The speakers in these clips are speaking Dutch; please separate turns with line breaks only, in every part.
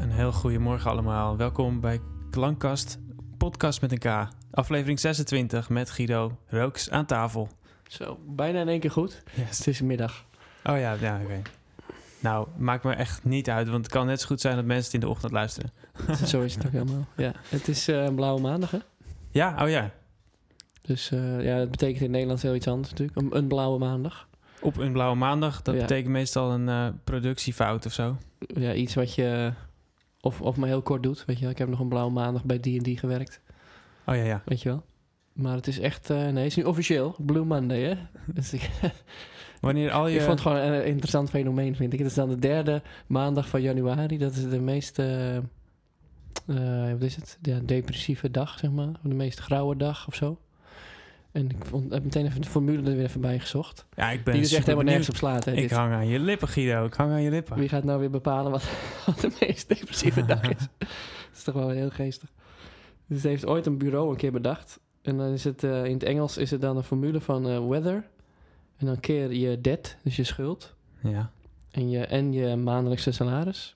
Heel goedemorgen allemaal. Welkom bij Klankkast, podcast met een K. Aflevering 26 met Guido Rooks aan tafel.
Zo, bijna in één keer goed. Het is middag.
Oh ja, ja oké. Nou, maakt me echt niet uit, want het kan net zo goed zijn dat mensen het in de ochtend luisteren.
Zo is het ook helemaal. Ja, het is eh, een blauwe maandag, hè?
Ja, oh ja.
Dus eh, ja, dat betekent in Nederland heel iets anders natuurlijk. Een, een blauwe maandag.
Op een blauwe maandag, dat
Ja.
betekent meestal een eh, productiefout of zo.
Ja, iets wat je... Of, of maar heel kort doet, weet je wel. Ik heb nog een blauwe maandag bij D&D gewerkt,
Oh ja, ja.
weet je wel. Maar het is echt... eh, nee, het is nu officieel. Blue Monday, hè? Dus ik,
Wanneer al je...
ik vond het gewoon een eh, interessant fenomeen, vind ik. Het is dan de derde maandag van januari. Dat is de meest... eh, eh, wat is het? Ja, depressieve dag, zeg maar. De meest grauwe dag of zo. En ik vond, heb meteen even de formule er weer even bij gezocht.
Ja, ik ben
Die dus echt
super
helemaal nergens
benieuwd.
op slaat. Hè,
Ik
dit.
hang aan je lippen, Guido. Ik hang aan je lippen.
Wie gaat nou weer bepalen wat, wat de meest depressieve dag is? Dat is toch wel heel geestig. Dus heeft ooit een bureau een keer bedacht. En dan is het eh, in het Engels is het dan een formule van eh, weather. En dan keer je debt, dus je schuld.
Ja.
En je, en je maandelijkse salaris.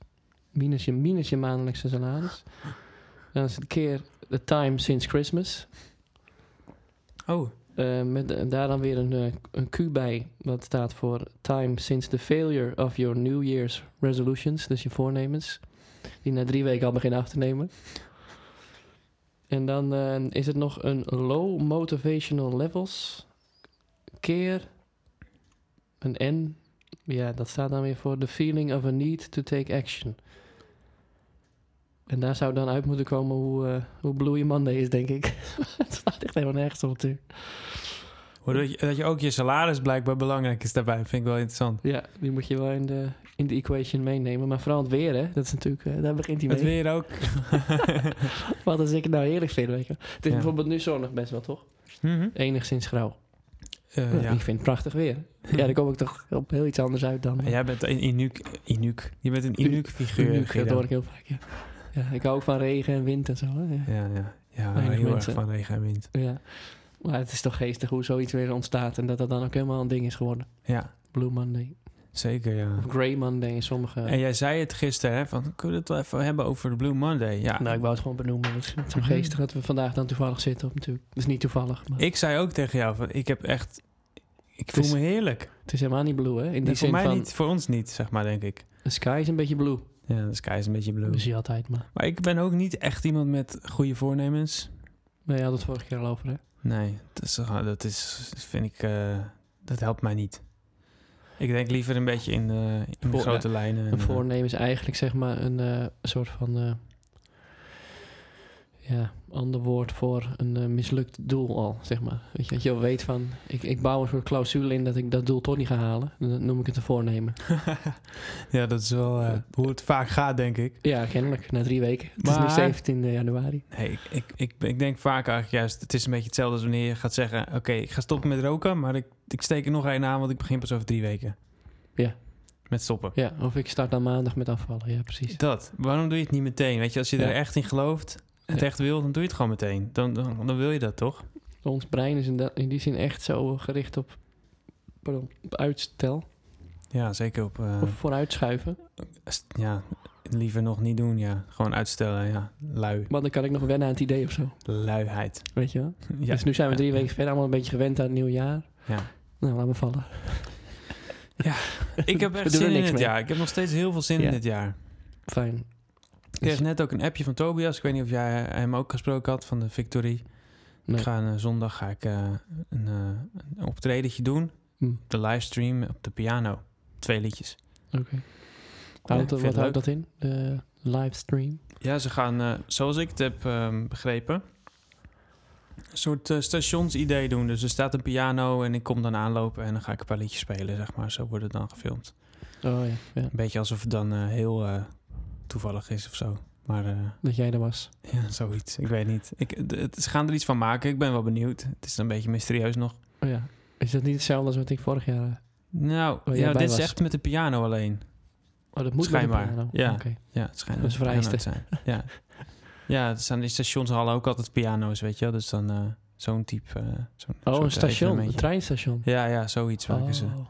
Minus je, minus je maandelijkse salaris. En dan is het keer the time since Christmas.
Oh,
Eh, met eh, daar dan weer een, eh, een Q bij. Dat staat voor Time since the failure of your New Year's resolutions. Dus je voornemens. Die na drie weken al beginnen af te nemen. En dan eh, is het nog een low motivational levels keer een N. Ja, dat staat dan weer voor the feeling of a need to take action. En daar zou dan uit moeten komen hoe, eh hoe Blue Your Monday is, denk ik. het staat echt helemaal nergens op natuurlijk.
hoe dat, je, dat je ook je salaris blijkbaar belangrijk is daarbij, vind ik wel interessant.
Ja, die moet je wel in de, in de equation meenemen. Maar vooral het weer, hè. Dat is natuurlijk... eh, daar begint hij
Het
mee.
weer ook.
Wat als ik het nou heerlijk vind, weet je wel. Het is
Ja.
bijvoorbeeld nu zonnig best wel, toch?
Mhm.
Enigszins grauw.
Eh,
Nou,
ja.
Ik vind het prachtig weer. Ja, daar kom ik toch op heel iets anders uit dan...
Maar jij bent een Inuk. Inuk. Je bent een Inuk figuur.
Uniek, dat
Guido.
hoor ik heel vaak, ja. ja. Ik hou ook van regen en wind en zo, hè. Ja.
Ja, ja. Ja,
Weinig
heel
mensen.
erg van regen en wind.
ja. Maar het is toch geestig hoe zoiets weer ontstaat... en dat dat dan ook helemaal een ding is geworden.
Ja,
Blue Monday.
zeker ja.
Of eh, Grey Monday in sommige...
En jij zei het gisteren, hè, van kunnen we het wel even hebben over de Blue Monday? Ja,
Nou, ik wou het gewoon benoemen. Het is- het is wel
Mhm.
geestig dat we vandaag dan toevallig zitten, op, natuurlijk. Het is niet toevallig, maar...
ik zei ook tegen jou, van, ik heb echt, ik
Het is-
voel me heerlijk.
Het is helemaal niet blue, hè? In Dus die
Nee,
zin
voor mij
van,
niet, voor ons niet, zeg maar, denk ik.
de sky is een beetje blue.
Ja, de sky is een beetje
Dat
blue.
zie je altijd, maar...
Maar ik ben ook niet echt iemand met goede voornemens.
Nee, je had het vorige keer al over, hè?
Nee, dat is, dat is vind ik, eh, dat helpt mij niet. Ik denk liever een beetje in de, in de
Voor-
grote lijnen. en,
Een
eh,
voornemen is eigenlijk, zeg maar, een eh, soort van... eh, ja, ander woord voor een eh, mislukt doel al, zeg maar. Weet je, dat je al weet van... Ik, ik bouw een soort clausule in dat ik dat doel toch niet ga halen. Dan noem ik het een voornemen.
ja, dat is wel eh, hoe het vaak gaat, denk ik.
Ja, kennelijk. Na drie weken. Het is nu
Maar-
17 januari.
Nee, ik, ik, ik, ik denk vaak eigenlijk juist, het is een beetje hetzelfde als wanneer je gaat zeggen, oké, ik ga stoppen met roken, maar ik, ik steek er nog één aan, want ik begin pas over drie weken.
Ja.
Met stoppen.
Ja, of ik start dan maandag met afvallen. Ja, precies.
Dat, waarom doe je het niet meteen? Weet je, als je
Ja.
er echt in gelooft, het
Ja.
echt wil, dan doe je het gewoon meteen. Dan, dan, dan wil je dat toch?
Ons brein is in, da- in die zin echt zo gericht op, pardon, op uitstel.
Ja, zeker op, eh,
Of vooruitschuiven.
st- ja, liever nog niet doen, ja. Gewoon uitstellen, ja. Lui,
Want dan kan ik nog wennen aan het idee of zo.
luiheid.
Weet je wel?
ja.
Dus nu zijn we drie
Ja.
weken verder allemaal een beetje gewend aan het nieuwe jaar.
Ja.
Nou, laat me vallen.
Ik heb
We
echt
doen
zin
er
in
niks
het
mee.
jaar. Ik heb nog steeds heel veel zin
Ja. Dus-
in dit jaar.
Fijn.
Ik kreeg net ook een appje van Tobias. Ik weet niet of jij hem ook gesproken had van de Victory.
Nee.
Ik ga een, eh, zondag ga ik, eh, een, eh, een optredentje doen.
Hm.
Op de livestream op de piano. Twee liedjes.
Oké.
ik
Houdt-
vind
wat
het
houdt dat in? De livestream.
Ja, ze gaan, eh, zoals ik het heb ehm, begrepen, een soort eh, stationsidee doen. Dus er staat een piano en ik kom dan aanlopen en dan ga ik een paar liedjes spelen, zeg maar. Zo wordt het dan gefilmd.
Oh ja. ja.
Een beetje alsof het dan eh, heel eh, toevallig is of zo. Maar eh,
Dat jij er was.
ja, zoiets. Ik weet niet. Ik, d- het, ze gaan er iets van maken. Ik ben wel benieuwd. Het is een beetje mysterieus nog.
Oh ja. Is dat niet hetzelfde als wat ik vorig jaar... eh,
Nou,
jij
ja,
bij
dit is
was.
echt met de piano alleen.
Oh, dat moet
Schijnbaar,
Met de piano.
ja.
Oké.
Ja, het schijnt
Dat is
dat het
vrijste.
piano's zijn. Ja. ja, er staan in stationshallen ook altijd piano's, weet je wel. Dus dan eh, zo'n type... eh, zo'n
Oh,
soort
een station. Een
evenementje.
treinstation.
Ja, ja, zoiets maken ze.
Oh.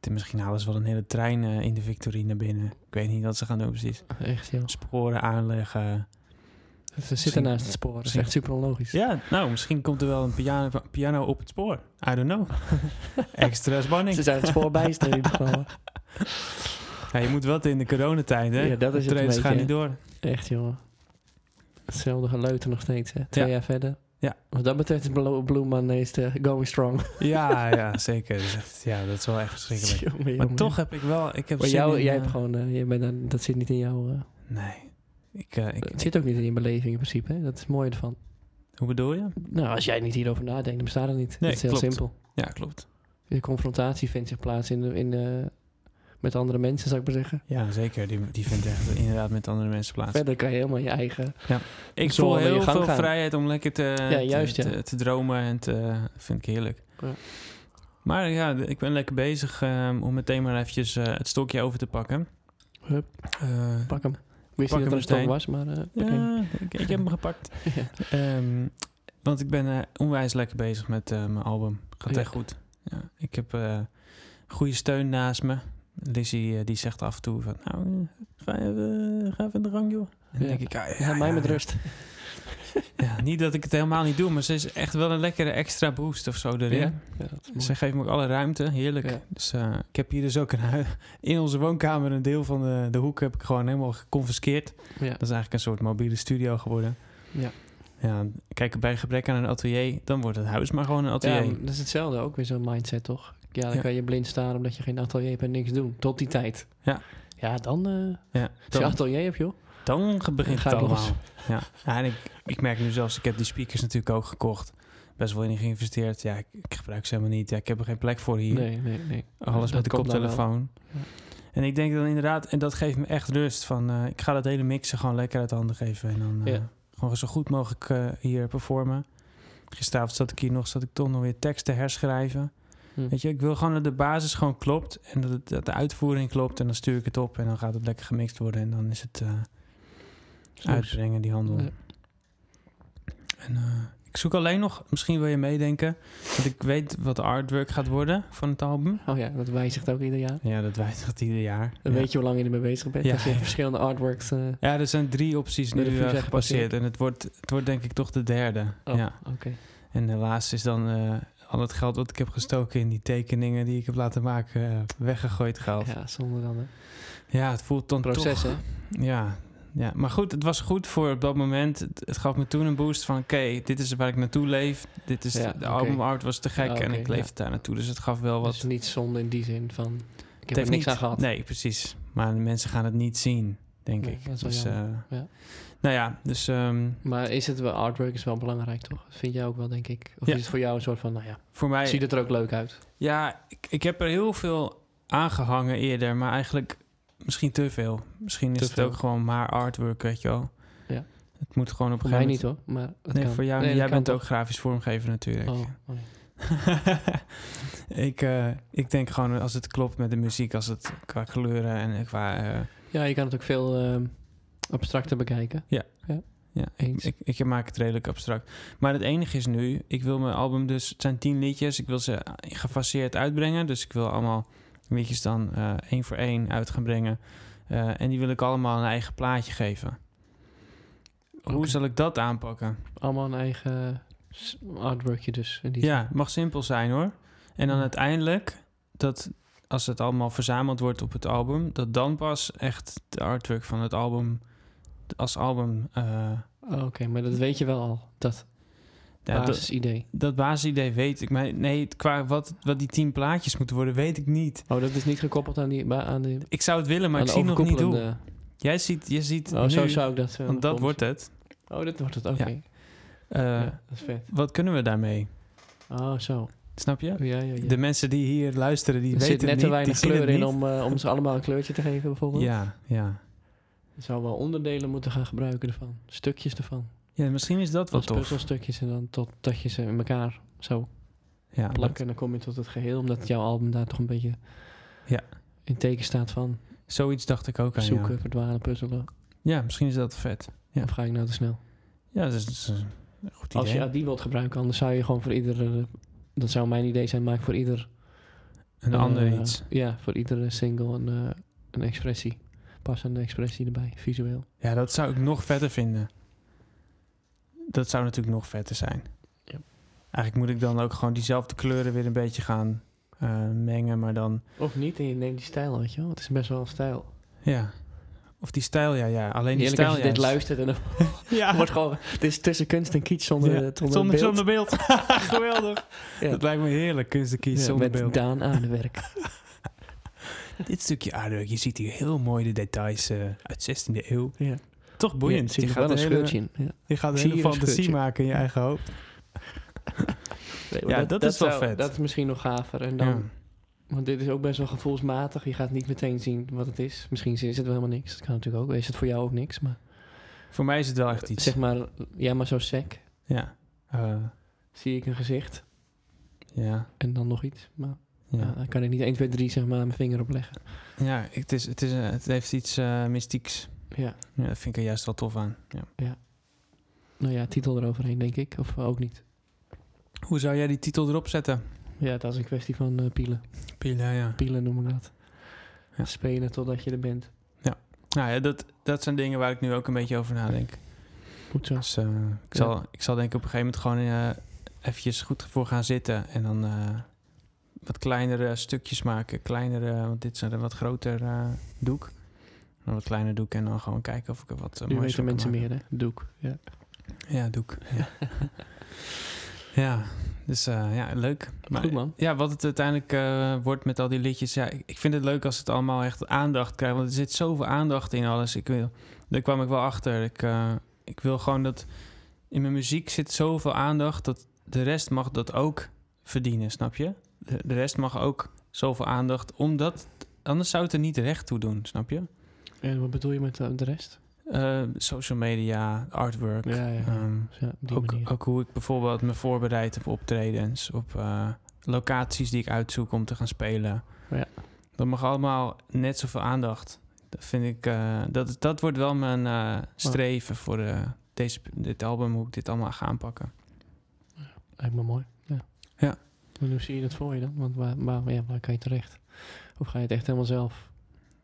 t- misschien halen ze wel een hele trein eh, in de Victorie naar binnen. Ik weet niet wat ze gaan doen precies.
Echt, joh.
Sporen aanleggen.
Ze zitten naast het spoor. Dat is echt super onlogisch.
Ja, nou, misschien komt er wel een piano, piano op het spoor. I don't know. Extra spanning.
Ze zijn het spoor bijster in ieder geval.
Ja, je moet wat in de coronatijd, hè?
Ja, dat is het een
Trains
beetje,
gaan
hè.
niet door.
Echt, joh. Hetzelfde geleuter nog steeds, hè. Twee
Ja.
jaar verder.
Ja.
Wat dat betreft is Blo- Bloem man ineens de going strong.
Ja, ja, zeker. Dat is echt- ja, dat is wel echt verschrikkelijk.
Jongen,
Maar
jongen.
toch heb ik wel... Ik heb
Maar
zin
jou,
in,
jij
eh,
hebt gewoon... eh, jij bent daar- dat zit niet in jouw... eh,
Nee. Ik, eh, ik,
het zit ook niet in je beleving in principe, hè. Dat is het mooie ervan.
hoe bedoel je?
Nou, als jij niet hierover nadenkt, dan bestaat het niet.
Nee,
dat is heel
klopt.
simpel.
Ja, klopt.
De confrontatie vindt zich plaats in de, in de, met andere mensen, zou ik maar zeggen.
Ja, zeker. Die, die vindt echt inderdaad met andere mensen plaats.
Verder kan je helemaal je eigen...
Ik
Zo
voel
wel in je
heel
gang
veel
gaan.
vrijheid om lekker te,
Ja, juist,
te,
ja.
te, te dromen en te, vind ik heerlijk.
Ja.
Maar ja, d- ik ben lekker bezig ehm, om meteen maar eventjes eh, het stokje over te pakken.
Hup,
Eh,
pak hem. Ik wist
Pak
niet dat
hem
er een stok
meteen.
was, maar... eh, pak hem.
ja, ik, ik heb hem gepakt.
Ja.
Ehm, want ik ben eh, onwijs lekker bezig met eh, mijn album. Gaat
Ja.
echt goed. Ja, ik heb eh, goede steun naast me. Lizzie eh, die zegt af en toe van, nou, eh, ga, even, ga even in de gang, joh. En
Ja.
dan denk ik, ah, ja,
Laat mij
ja,
met
ja.
rust.
Ja, niet dat ik het helemaal niet doe, maar ze is echt wel een lekkere extra boost of zo erin.
Ja, ja, dat is mooi.
Ze geeft me ook alle ruimte, heerlijk.
Ja.
Dus eh, ik heb hier dus ook een hui- in onze woonkamer een deel van de, de hoek heb ik gewoon helemaal geconfiskeerd.
Ja.
Dat is eigenlijk een soort mobiele studio geworden.
Ja.
Ja, kijk, bij gebrek aan een atelier, dan wordt het huis maar gewoon een
Ja,
atelier.
maar dat is hetzelfde ook weer zo'n mindset, toch? Ja, dan
Ja.
kan je blind staan omdat je geen atelier hebt en niks doen. Tot die tijd.
Ja.
Ja, dan... eh
Ja,
als je
dan,
atelier hebt, joh.
dan ge- begint
Ga
het
ik los.
allemaal. Ja. Ja, en ik, ik merk nu zelfs, ik heb die speakers natuurlijk ook gekocht. Best wel in geïnvesteerd. Ja, ik, ik gebruik ze helemaal niet. Ja, ik heb er geen plek voor hier.
Nee, nee, nee.
Oh, Alles
Dat
met de
komt dan wel.
koptelefoon.
Ja.
En ik denk dan inderdaad, en dat geeft me echt rust. Van, eh, ik ga dat hele mixen gewoon lekker uit de handen geven. En dan eh,
Ja.
gewoon zo goed mogelijk eh, hier performen. Gisteravond zat ik hier nog, zat ik toch nog weer tekst te herschrijven.
Hm.
Weet je, ik wil gewoon dat de basis gewoon klopt. En dat, het, dat de uitvoering klopt. En dan stuur ik het op. En dan gaat het lekker gemixt worden. En dan is het eh, uitbrengen, die handel.
Ja.
En, eh, ik zoek alleen nog, misschien wil je meedenken. Want ik weet wat de artwork gaat worden van het album.
Oh ja, dat wijzigt ook ieder jaar.
Ja, dat wijzigt ieder jaar.
Dan
ja.
weet je hoe lang je ermee bezig bent.
Ja.
Als je verschillende artworks... eh,
ja, er zijn drie opties nu
Door de
eh,
visa
gepasseerd.
gepasseerd.
En het wordt, het wordt denk ik toch de derde.
Oh,
Ja.
oké.
En helaas is dan eh, al het geld wat ik heb gestoken in die tekeningen die ik heb laten maken, eh, weggegooid geld. Ja.
Ja, zonder dan hè.
het voelt dan
proces,
toch...
hè.
Ja, ja, maar goed, het was goed voor op dat moment. Het, het gaf me toen een boost van, oké, dit is waar ik naartoe leef. Dit is,
Ja,
de
oké.
albumart was te gek
Ah,
en
oké,
ik
ja.
leefde daar naartoe. Dus het gaf wel wat...
Wat niet zonde in die zin van... Ik
Het
heb er
heeft
niks
niet-
aan gehad.
Nee, precies. Maar de mensen gaan het niet zien, denk
Nee,
ik.
dat is wel
dus,
jammer.
eh,
Ja.
Nou ja, dus ehm,
Maar is het wel, artwork is wel belangrijk, toch? Dat vind jij ook wel, denk ik. Of
Ja.
is het voor jou een soort van, nou ja,
voor mij...
ziet het er ook leuk uit?
Ja, ik, ik heb er heel veel aangehangen eerder, maar eigenlijk misschien te veel. Misschien is
Te
het
veel.
ook gewoon maar artwork, weet je wel.
Ja.
Het moet gewoon op een
Voor mij
gegeven
niet,
moment...
hoor. Maar dat
Nee,
kan.
voor jou
Nee,
niet.
dat
Jij
kan
bent ook grafisch vormgever natuurlijk.
toch? Oh, oh, nee.
ik, eh, ik denk gewoon als het klopt met de muziek, als het qua kleuren en qua... eh,
Ja, je kan het ook veel ehm, abstracter bekijken.
Ja, ik,
Eens.
ik, ik maak het redelijk abstract. Maar het enige is nu, ik wil mijn album dus... Het zijn tien liedjes, ik wil ze gefaseerd uitbrengen. Dus ik wil allemaal liedjes dan eh, één voor één uit gaan brengen. Eh, en die wil ik allemaal een eigen plaatje geven. Hoe
Oké.
zal ik dat aanpakken?
Allemaal een eigen s- artworkje dus. in die zin.
Ja, mag simpel zijn hoor. En dan
Ja.
uiteindelijk, dat als het allemaal verzameld wordt op het album... dat dan pas echt de artwork van het album als album... eh
Oh, Oké, maar dat weet je wel al. Dat
ja, dat-
basisidee.
Dat basisidee weet ik. Maar nee, het- qua wat, wat die tien plaatjes moeten worden, weet ik niet.
Oh, dat is niet gekoppeld aan die... ba- Aan die
Ik zou het willen, maar
aan
ik
de
zie nog niet hoe.
overkoepelende-
Jij ziet, je ziet
Oh,
nu,
zo zou ik dat... eh,
want dat
voor me
wordt het.
zien. Oh, dat wordt het. Oké.
Eh,
Ja, dat is vet.
Wat kunnen we daarmee?
Oh, zo. Oh,
Snap je?
Ja, ja, ja.
De mensen die hier luisteren, die
er
weten
zit net
het niet,
te
die
weinig
zien het
kleur in
niet.
om, eh, om ze allemaal een kleurtje te geven, bijvoorbeeld.
Ja, ja.
Je zou wel onderdelen moeten gaan gebruiken ervan. Stukjes ervan.
ja, misschien is dat wel
Als
tof.
puzzelstukjes en dan totdat je ze in elkaar zo
Ja,
plakken. En dan kom je tot het geheel, omdat jouw album daar toch een beetje
Ja.
in teken staat van
dat- zoiets dacht ik ook aan
zoeken,
jou.
verdwalen, puzzelen.
Ja, misschien is dat vet. Ja.
Of ga ik nou te snel?
Ja, dat is, dat is een goed idee.
Als je die wilt gebruiken, anders zou je gewoon voor ieder... eh, Dat zou mijn idee zijn, maak voor ieder
en de ander
Eh,
iets.
Ja, voor iedere single een, eh, een expressie. Passende expressie erbij, visueel.
Ja, dat zou ik nog vetter vinden. Dat zou natuurlijk nog vetter zijn.
Ja.
Eigenlijk moet ik dan ook gewoon diezelfde kleuren weer een beetje gaan eh, mengen, maar dan...
Of niet, en je neemt die stijl, weet je wel. Het is best wel een stijl.
Ja. Of die stijl, ja, ja. Alleen die
Eerlijk,
stijl,
als je dit
juist.
luistert en dan
Ja,
wordt gewoon... Het is tussen kunst en kiets zonder,
Ja,
eh,
zonder,
zonder, beeld.
zonder beeld. Geweldig.
Ja.
Dat lijkt me heerlijk, kunst
Ja,
kiezen zonder
met
beeld.
Daan aan de werk.
Dit stukje aardwerk, je ziet hier heel mooi de details eh, uit 16e eeuw.
Ja.
Toch boeiend. je,
Ja, er zit
gaat
wel een
een hele,
scheurtje in. Ja.
je gaat een
Zie
hele
hier een
fantasie
scheurtje.
maken in je eigen hoofd.
Nee, maar
Ja, dat is wel
zou-
vet.
Dat is misschien nog gaver. En dan, Want dit is ook best wel gevoelsmatig. Je gaat niet meteen zien wat het is. Misschien is het wel helemaal niks. Dat kan natuurlijk ook. Is het voor jou ook niks. Maar
Ja. Voor mij is het wel echt iets.
zeg maar, ja, maar zo sec.
Ja. Eh,
Zie ik een gezicht
ja.
en dan nog iets. Maar ja.
Ja.
dan kan ik niet 1, 2, 3 zeg maar mijn vinger op leggen.
Ja, het, is, het, is, eh, het heeft iets eh, mystieks.
Ja.
Ja, dat vind ik er juist wel tof aan. Ja.
Nou ja, titel eroverheen denk ik. Of ook niet.
Hoe zou jij die titel erop zetten?
Ja, dat is een kwestie van eh, pielen.
Pila, ja.
Pielen noem ik dat.
Ja.
Spelen totdat je er bent.
Nou ja, dat, dat zijn dingen waar ik nu ook een beetje over nadenk.
Goed zo.
Dus eh, ik, zal, ik zal denk ik op een gegeven moment gewoon eh, eventjes goed voor gaan zitten. En dan eh, wat kleinere stukjes maken. Kleinere, want dit is een wat groter eh, doek. Een wat kleiner doek en dan gewoon kijken of ik er wat uh,
Nu
moois
weten
van kan
mensen
maken.
meer, hè? Doek. Ja.
Ja, doek. Ja, ja dus eh, ja, leuk. Maar,
Goed man.
Ja, wat het uiteindelijk eh, wordt met al die liedjes. Ja, ik, ik vind het leuk als het allemaal echt aandacht krijgt. Want er zit zoveel aandacht in alles. Ik wil, daar kwam ik wel achter. Ik, eh, ik wil gewoon dat... In mijn muziek zit zoveel aandacht... dat de rest mag dat ook verdienen, snap je? De, de rest mag ook zoveel aandacht... omdat... anders zou het er niet recht toe doen, snap je?
En wat bedoel je met eh, de rest?
Eh, social media, artwork...
Ja, ja.
ehm,
Dus ja, op die
ook,
manier.
ook hoe ik bijvoorbeeld me voorbereid op optredens, op eh, locaties die ik uitzoek om te gaan spelen.
Ja.
Dat mag allemaal net zoveel aandacht. Dat vind ik, eh, dat, dat wordt wel mijn eh, streven voor eh, deze, dit album, hoe ik dit allemaal ga aanpakken.
Lijkt me mooi. Ja.
Ja.
Maar hoe zie je dat voor je dan? Want waar, waar, ja, waar kan je terecht? Of ga je het echt helemaal zelf?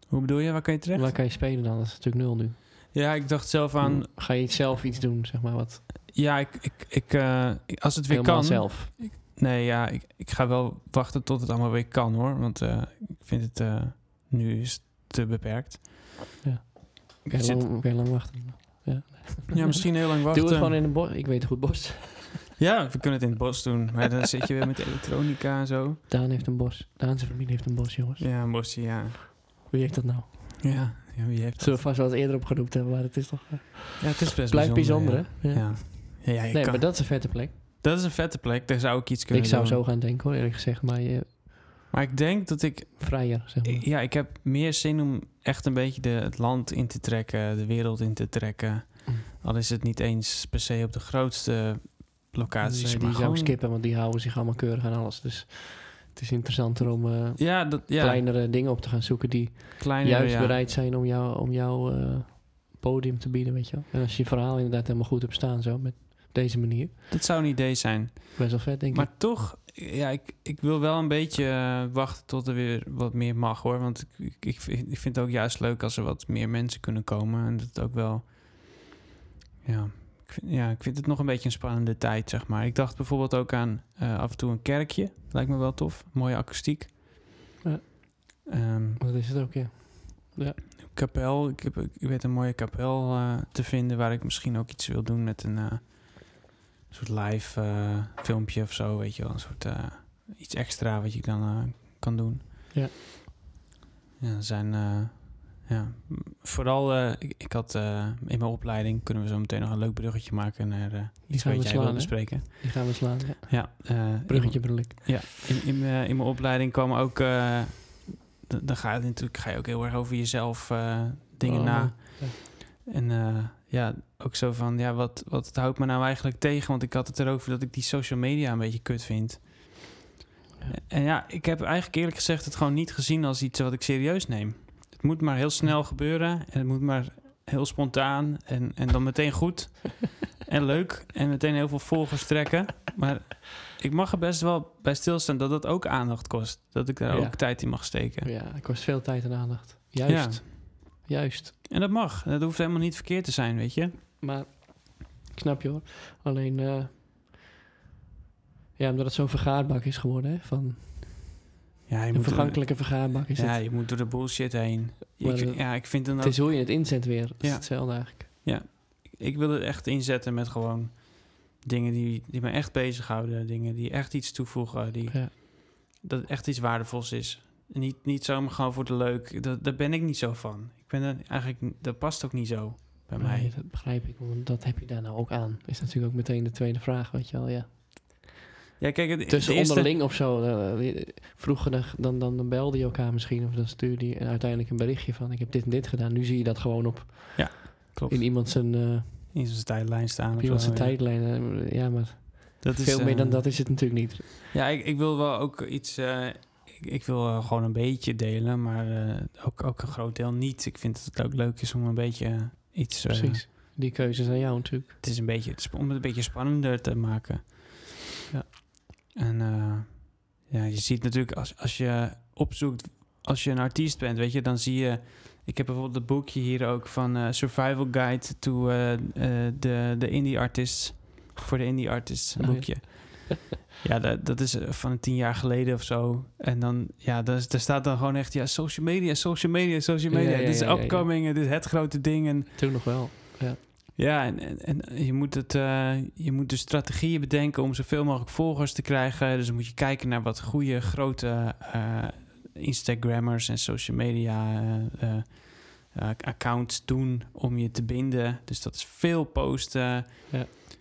Hoe bedoel je, waar kan je terecht?
Waar kan je spelen dan? Dat is natuurlijk nul nu.
Ja, ik dacht zelf aan,
Hmm. Ga je zelf iets doen, zeg maar, wat
ja, ik, ik, ik, eh, ik- als het weer
helemaal
kan.
zelf.
Nee, ja, ik, ik ga wel wachten tot het allemaal weer kan hoor. Want eh, ik vind het eh, nu is het te beperkt.
Ja.
Ik
Kan je,
zit-
lang, kan je lang wachten?
Ja, misschien heel lang wachten.
Doe het gewoon in een bos. Ik weet een goed bos.
Ja, we kunnen het in het bos doen. Maar dan zit je weer met elektronica en zo.
Daan heeft een bos. Daan zijn familie heeft een bos, jongens.
Ja, een bosje, ja.
Wie heeft dat nou?
Ja, ja wie heeft
Zullen we vast wel eens eerder opgeroepen hebben, maar het is toch... eh,
Ja, het is best
blijft bijzonder,
ja.
hè? Ja.
Ja. Ja, ja, je
Nee,
kan-
maar dat is een vette plek.
dat is een vette plek. Daar zou ik iets kunnen
Ik zou
doen.
zo gaan denken, hoor, eerlijk gezegd. Maar je,
Maar ik denk dat ik...
vrijer, zeg maar.
Ja, ik heb meer zin om echt een beetje de, het land in te trekken. De wereld in te trekken.
Mm.
Al is het niet eens per se op de grootste locaties.
Nee, die
maar
zou
gewoon-
skippen, want die houden zich allemaal keurig aan alles. Dus het is interessanter om eh,
Ja, dat, ja
kleinere dingen op te gaan zoeken die
kleinere,
juist
ja.
bereid zijn om jouw om jou, eh, podium te bieden, weet je wel. En als je je verhaal inderdaad helemaal goed hebt staan, zo, met deze manier.
Dat zou een idee zijn.
Best wel vet, denk ik.
Maar toch, ja, ik, ik wil wel een beetje eh, wachten tot er weer wat meer mag hoor. Want ik, ik, ik vind- ik vind het ook juist leuk als er wat meer mensen kunnen komen. En dat het ook wel. Ja ik, vind, ja, ik vind het nog een beetje een spannende tijd, zeg maar. Ik dacht bijvoorbeeld ook aan eh, af en toe een kerkje. Lijkt me wel tof. Mooie akoestiek.
Ja.
Ehm,
Dat is het ook, ja.
kapel. Ik, heb, ik weet een mooie kapel eh, te vinden waar ik misschien ook iets wil doen met een eh, soort live eh, filmpje of zo, weet je wel. Een soort eh, iets extra wat je dan eh, kan doen.
Ja.
Ja, er zijn... eh, ja, m- vooral, eh, ik, ik had eh, in mijn opleiding, kunnen we zo meteen nog een leuk bruggetje maken naar eh iets
gaan
wat jij
we slaan,
wil
hè?
bespreken.
Die gaan we slaan. Ja.
Ja, eh,
Bruggetje bedoel ik.
ja, in, in, mijn- in mijn opleiding kwam ook. eh, d- dan ga je natuurlijk ga je ook heel erg over jezelf eh, dingen
Oh,
na.
man.
En eh, ja, ook zo van: ja, wat, wat houdt me nou eigenlijk tegen? Want ik had het erover dat ik die social media een beetje kut vind. En ja, ik heb eigenlijk eerlijk gezegd het gewoon niet gezien als iets wat ik serieus neem. Het moet maar heel snel gebeuren en het moet maar heel spontaan en, en dan meteen goed. en leuk en meteen heel veel volgers trekken. Maar ik mag er best wel bij stilstaan dat dat ook aandacht kost. Dat ik daar
Ja.
ook tijd in mag steken.
Ja, het kost veel tijd en aandacht. Juist. Juist.
En dat mag. Dat hoeft helemaal niet verkeerd te zijn, weet je.
Maar ik snap je hoor. Alleen, eh, ja, omdat het zo'n vergaarbak is geworden, hè? Van
Ja, je
een
moet
vergankelijke vergaarbak is
door, ja,
het.
je moet door de bullshit heen.
Maar
Ik,
dat-
ja, ik vind dan
Het
ook,
is hoe je het inzet weer. Dat is
Nou, Ja.
hetzelfde eigenlijk.
ik wil het echt inzetten met gewoon dingen die, die me echt bezighouden. Dingen die echt iets toevoegen. Die,
Ja.
dat het echt iets waardevols is. Niet, niet zomaar gewoon voor de leuk. Dat, daar ben ik niet zo van. Ik ben er eigenlijk, dat past ook niet zo bij mij.
Nee, dat begrijp ik. Want dat heb je daar nou ook aan. Is natuurlijk ook meteen de tweede vraag, weet je wel. Ja.
Ja, kijk, het,
Tussen
de eerste-
onderling of zo. eh, eh, Vroeger dan, dan, dan, dan belde je elkaar misschien. Of dan stuurde je uiteindelijk een berichtje van... ik heb dit en dit gedaan. Nu zie je dat gewoon op
klopt,
in
in,
iemand zijn, eh, op
zijn tijdlijn staan. of
iemand
zo,
zijn
ja.
tijdlijn. eh, Ja, maar
Dat is,
veel meer
eh,
dan dat is het natuurlijk niet.
Ja, ik, ik wil wel ook iets. eh, ik, ik wil eh, gewoon een beetje delen, maar eh, ook, ook een groot deel niet. Ik vind dat het ook leuk is om een beetje eh, iets. eh,
Precies. Die keuze is aan jou natuurlijk.
het is een beetje, het is om het een beetje spannender te maken.
Ja.
En eh, ja, je ziet natuurlijk als, als je opzoekt, als je een artiest bent, weet je, dan zie je. Ik heb bijvoorbeeld het boekje hier ook van eh, Survival Guide to eh, eh, de de Indie Artists. Voor de Indie Artists, een
Oh, ja.
boekje. Ja, dat, dat is eh, van tien jaar geleden of zo. En dan, ja, daar, is- daar staat dan gewoon echt, ja, social media, social media, social
Ja,
media.
ja,
dit is
ja, ja, ja.
upcoming, eh, dit is het grote ding. En
Toen nog wel.
ja, en, en, en je, moet het, eh, je moet dus strategieën bedenken om zoveel mogelijk volgers te krijgen. Dus dan moet je kijken naar wat goede grote eh, Instagrammers en social media eh, eh, eh, accounts doen om je te binden. Dus dat is veel posten.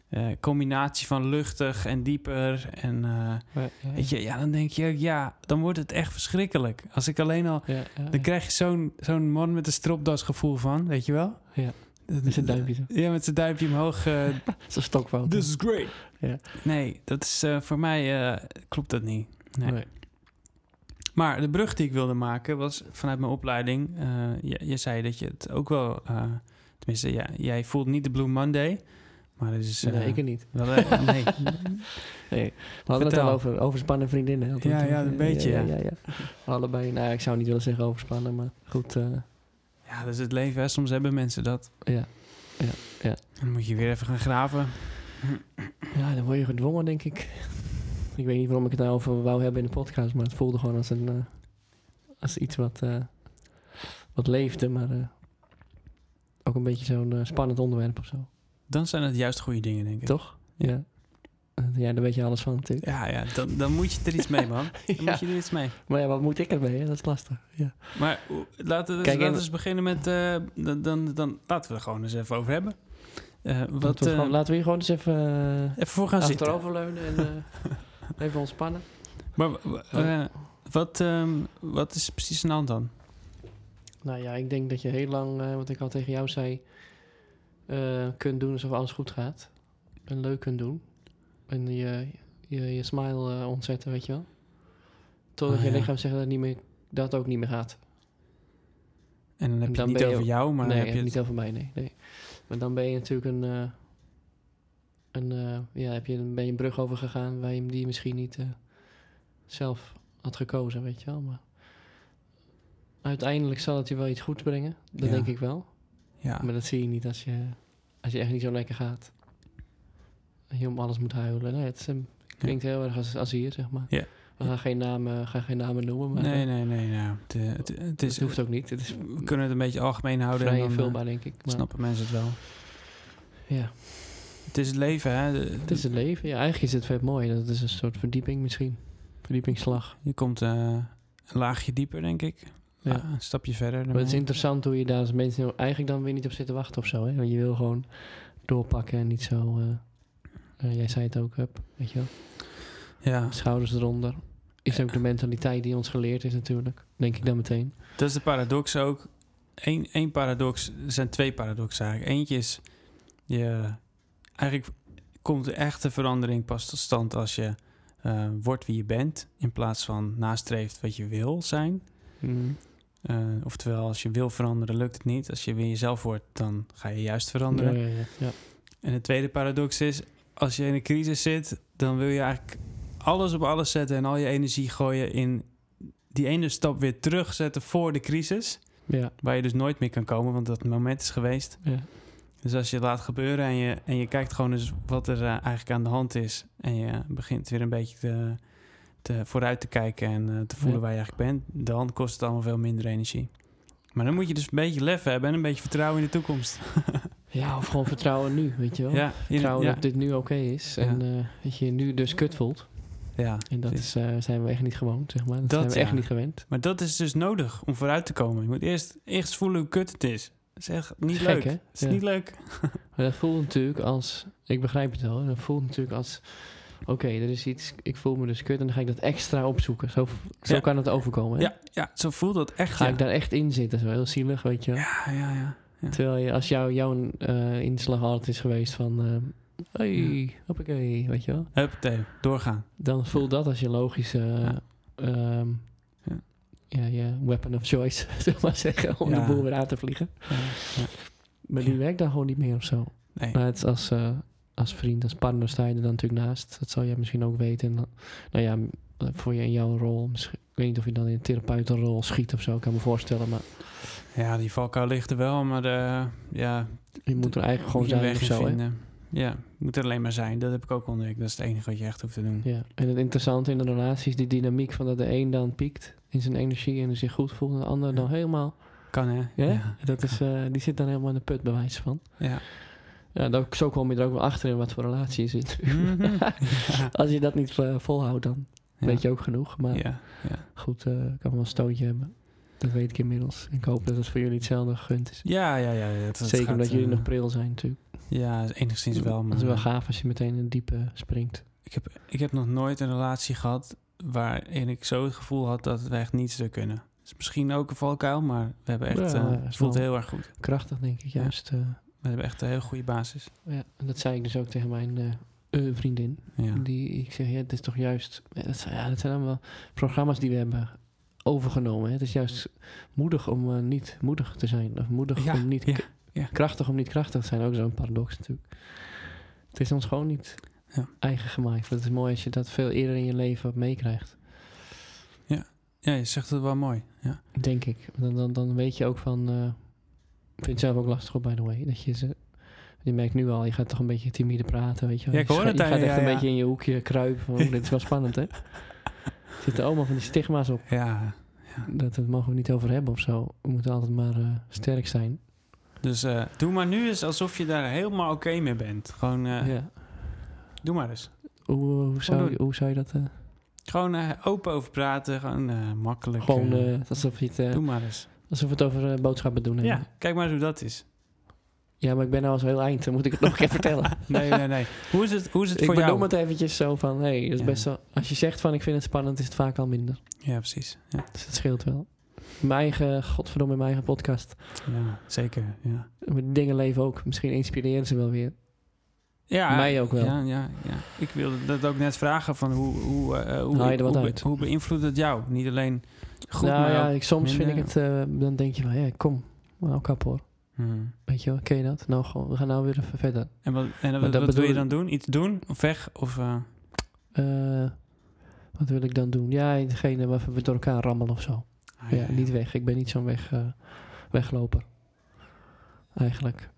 Eh, combinatie van luchtig en dieper. En eh,
Ja, ja,
weet je, ja, dan denk je ook, ja, dan wordt het echt verschrikkelijk. Als ik alleen al
ja, ja,
dan krijg je zo'n zo'n man met een stropdas gevoel van, weet je wel?
Ja.
Dat
Met zijn duimpje zo.
Ja, met zijn duimpje omhoog. eh,
Dat is een stokfout.
is great.
Ja.
Nee, dat is eh, voor mij eh, klopt dat niet. Nee.
Nee.
Maar de brug die ik wilde maken was vanuit mijn opleiding. eh, je, je zei dat je het ook wel, eh, tenminste, ja, jij voelt niet de Blue Monday, maar het is eh,
Nee, ik het niet.
wel, eh, nee.
We hadden het
Vertel.
al over overspannen vriendinnen. hadden we
Ja,
het
ja,
over.
een beetje,
Ja,
ja.
ja, ja. Allebei, nou ik zou niet willen zeggen overspannen, maar goed. eh,
Ja, dat is het leven. Hè. Soms hebben mensen dat.
ja.
En dan moet je weer even gaan graven.
ja, dan word je gedwongen, denk ik. Ik weet niet waarom ik het nou over wou hebben in de podcast, maar het voelde gewoon als, een, eh, als iets wat, eh, wat leefde, maar eh, ook een beetje zo'n eh, spannend onderwerp of zo.
Dan zijn het juist goede dingen, denk ik.
Toch? Ja. Eh, Ja, daar weet je alles van natuurlijk.
Ja, ja dan, dan moet je er iets mee, man. Dan
Ja.
moet je er iets mee.
Maar ja, wat moet ik ermee? Hè? Dat is lastig. Ja.
Maar o- laten we
Kijk,
laten we
en-
eens beginnen met... eh, dan, dan, dan laten we er gewoon eens even over hebben. Eh, wat,
laten, we
eh,
gewoon, laten we hier gewoon eens even eh,
even voor gaan zitten.
achteroverleunen en eh, even ontspannen.
Maar w- w-
Oh.
eh, wat, ehm, wat is precies een hand dan?
Nou ja, ik denk dat je heel lang, eh, wat ik al tegen jou zei, eh, kunt doen alsof alles goed gaat. En leuk kunt doen. En je, je, je smile eh, ontzetten, weet je wel. Totdat
Ah,
je
ja.
lichaam zegt dat, het niet meer, dat het ook niet meer gaat.
En dan heb je
Dan
het niet
ben je-
over jou, maar
nee,
dan heb je
niet
het...
over mij, nee, nee. Maar dan ben je natuurlijk een, eh, een eh, ja, heb je, een- ben je een brug over gegaan waar je hem die misschien niet eh, zelf had gekozen, weet je wel. Maar uiteindelijk zal het je wel iets goeds brengen, dat
Ja.
denk ik wel.
Ja,
Maar dat zie je niet als je, als je echt niet zo lekker gaat. En je om alles moet huilen. Nee, het is een- klinkt heel erg als, als hier, zeg maar.
Ja.
We gaan geen namen, gaan geen namen noemen, maar
nee,
eh,
nee, nee. nou, het, eh, het, het
dat
is,
hoeft ook niet. Het is
we kunnen het een beetje algemeen houden. en
vrij
dan, eh,
invulbaar, denk ik. Maar,
snappen mensen het wel.
Ja.
Het is het leven, hè. De-
Het is het leven. Ja, eigenlijk is het vet mooi. Dat is een soort verdieping misschien. Verdiepingsslag.
Je komt eh, een laagje dieper, denk ik.
Ja.
Ah, een stapje verder.
Maar het is interessant hoe je daar als mensen nou eigenlijk dan weer niet op zit te wachten of zo. Hè? Want je wil gewoon doorpakken en niet zo... eh, eh, jij zei het ook, hup, weet je wel.
Ja,
Schouders eronder. Is ook de mentaliteit die ons geleerd is natuurlijk. Denk ik dan meteen.
dat is de paradox ook. Eén één paradox, er zijn twee paradoxen eigenlijk. Eentje is, je, eigenlijk komt de echte verandering pas tot stand als je eh, wordt wie je bent. In plaats van nastreeft wat je wil zijn. Eh, oftewel, als je wil veranderen, lukt het niet. Als je weer jezelf wordt, dan ga je juist veranderen.
Ja, ja, ja. Ja.
En de tweede paradox is, als je in een crisis zit, dan wil je eigenlijk alles op alles zetten en al je energie gooien in die ene stap weer terugzetten voor de crisis.
Ja,
Waar je dus nooit meer kan komen, want dat moment is geweest.
ja.
Dus als je het laat gebeuren en je, en je kijkt gewoon eens wat er eh, eigenlijk aan de hand is. En je begint weer een beetje te, te vooruit te kijken en eh, te voelen
Ja.
waar je eigenlijk bent. Dan kost het allemaal veel minder energie. Maar dan moet je dus een beetje lef hebben en een beetje vertrouwen in de toekomst.
ja, of gewoon vertrouwen nu, weet je wel.
Ja, in-
vertrouwen
ja,
dat dit nu oké is. En eh, dat je je nu dus kut voelt.
ja.
En dat is, eh, zijn we echt niet gewoon, zeg maar. Dat,
Dat,
zijn we echt
ja.
niet gewend.
Maar dat is dus nodig om vooruit te komen. Je moet eerst, eerst voelen hoe kut het is. Dat is echt niet
Is
leuk.
gek, hè?
Het is
Ja.
niet leuk.
Maar dat voelt natuurlijk als, ik begrijp het wel, dat voelt natuurlijk als, oké, er is iets, ik voel me dus kut en dan ga ik dat extra opzoeken. Zo, zo
Ja.
kan het overkomen. hè?
Ja, ja, zo voelt dat echt.
Ga
ja.
ik daar echt in zitten, zo heel zielig, weet je wel.
ja, ja, ja. ja.
Terwijl je, als jou, jouw eh inslag hard is geweest van, eh hey,
Ja.
hoppakee, weet je wel.
Huppatee, doorgaan.
Dan voelt dat als je logische,
Ja.
ehm,
Ja.
ja, je weapon of choice, zeg maar zeggen, om
Ja.
de boel weer aan te vliegen.
Ja, ja.
Maar die
Ja.
werkt dan gewoon niet meer of zo.
Nee.
Maar het is als, eh, als vriend, als partner sta je er dan natuurlijk naast. Dat zal jij misschien ook weten. En dan- Nou ja, m- voor je in jouw rol. misschien- Ik weet niet of je dan in een therapeutenrol schiet of zo. Ik kan me voorstellen. Maar
Ja, die valkuil ligt er wel, maar eh, ja,
je moet er eigenlijk gewoon
moet je
zijn of
weg in
zo. Hè?
vinden. Ja, moet er alleen maar zijn. Dat heb ik ook ontdekt. Dat is het enige wat je echt hoeft te doen.
Ja. En het interessante in de relatie is die dynamiek van dat de een dan piekt in zijn energie en zich goed voelt. En de ander
Ja.
dan helemaal.
Kan hè?
Ja?
Ja.
Dat is, eh, die zit dan helemaal in de put, bij wijze van.
Ja.
Ja, dan, zo kom je er ook wel achter in wat voor relatie je zit.
Mhm. Ja.
Als je dat niet eh, volhoudt, dan weet je ook genoeg. Maar
Ja, ja.
Goed, eh, ik kan wel een stootje hebben. Dat weet ik inmiddels. En ik hoop dat het voor jullie hetzelfde gegund is.
Ja, ja, ja. ja, het- het
Zeker
gaat,
omdat jullie
eh,
nog pril zijn natuurlijk.
Ja, enigszins wel. eh, Maar,
Het is wel gaaf als je meteen in het diepe springt.
Ik heb, ik heb nog nooit een relatie gehad waarin ik zo het gevoel had dat we echt niets te kunnen. Het is misschien ook een valkuil, maar we hebben echt,
Ja,
eh,
ja,
het
is
voelt
wel-
heel erg goed.
Krachtig denk ik
Ja.
juist. eh.
We hebben echt een heel goede basis.
ja, en dat zei ik dus ook tegen mijn eh, eh, vriendin.
Ja,
Die, ik zeg, ja, het is toch juist... Ja, dat, zijn- ja, dat zijn allemaal programma's die we hebben overgenomen. Hè? Het is juist moedig om eh, niet moedig te zijn. Of moedig
Ja,
om niet...
ja,
k-
ja.
Krachtig om niet krachtig te zijn. Ook zo'n paradox natuurlijk. Het is ons gewoon niet
Ja.
eigen gemaakt. Dat is mooi als je dat veel eerder in je leven meekrijgt.
ja je zegt het wel mooi. Ja.
Denk ik. Dan, dan, dan weet je ook van... eh, ik vind het zelf ook lastig op, by the way. Dat je ze... Je merkt nu al, je gaat toch een beetje timide praten, weet je wel.
Ja, ik
Je
hoor
scha-
het
Je
aan
gaat
je,
echt
ja,
een
ja.
beetje in je hoekje kruipen. Van, oh, dit is wel spannend, hè? Zitten allemaal van die stigma's op.
ja.
Dat, dat mogen we niet over hebben of zo. We moeten altijd maar eh, sterk zijn.
Dus eh, doe maar nu eens alsof je daar helemaal oké mee bent. Gewoon, eh,
Ja.
doe maar eens.
Hoe, hoe, zou,
Gewoon
je- hoe zou je dat... eh,
Gewoon eh, open over praten, gewoon eh, makkelijk.
gewoon
eh,
eh, alsof, je het, eh,
doe maar eens.
alsof we het over eh, boodschappen doen hebben.
Ja, kijk maar eens hoe dat is.
Ja, maar ik ben nou al zo heel eind. Dan moet ik het nog een keer vertellen.
Nee, nee, nee. Hoe is het, hoe is het
Ik
voor
benoem
jou?
het eventjes zo van... Hey, dat is
Ja.
best wel, als je zegt van ik vind het spannend, is het vaak al minder.
Ja, precies. Ja,
Dus dat scheelt wel. Mijn eigen, godverdomme, mijn eigen podcast.
ja zeker. Ja.
Mijn dingen leven ook. Misschien inspireren ze wel weer.
Ja,
Mij ook wel.
Ja, ja, ja. Ik wilde dat ook net vragen van hoe, hoe, eh, hoe,
Haal je er wat
hoe,
uit?
hoe beïnvloedt het jou? Niet alleen goed,
nou
maar
ja,
ook...
ik, soms vind ik
minder.
het... eh, dan denk je van, ja, kom. Nou, kap hoor.
Hmm.
Weet je wel, ken je dat? Nou, gewoon, we gaan nou weer even verder.
En wat, en
dat
wat, wat wil
bedoel-
je dan doen? Iets doen? Of weg? Of, eh,
Eh, wat wil ik dan doen? Ja, degene waar we door elkaar rammelen of zo.
ah,
Ja, niet weg. Ik ben niet zo'n weg, eh, wegloper. Eigenlijk.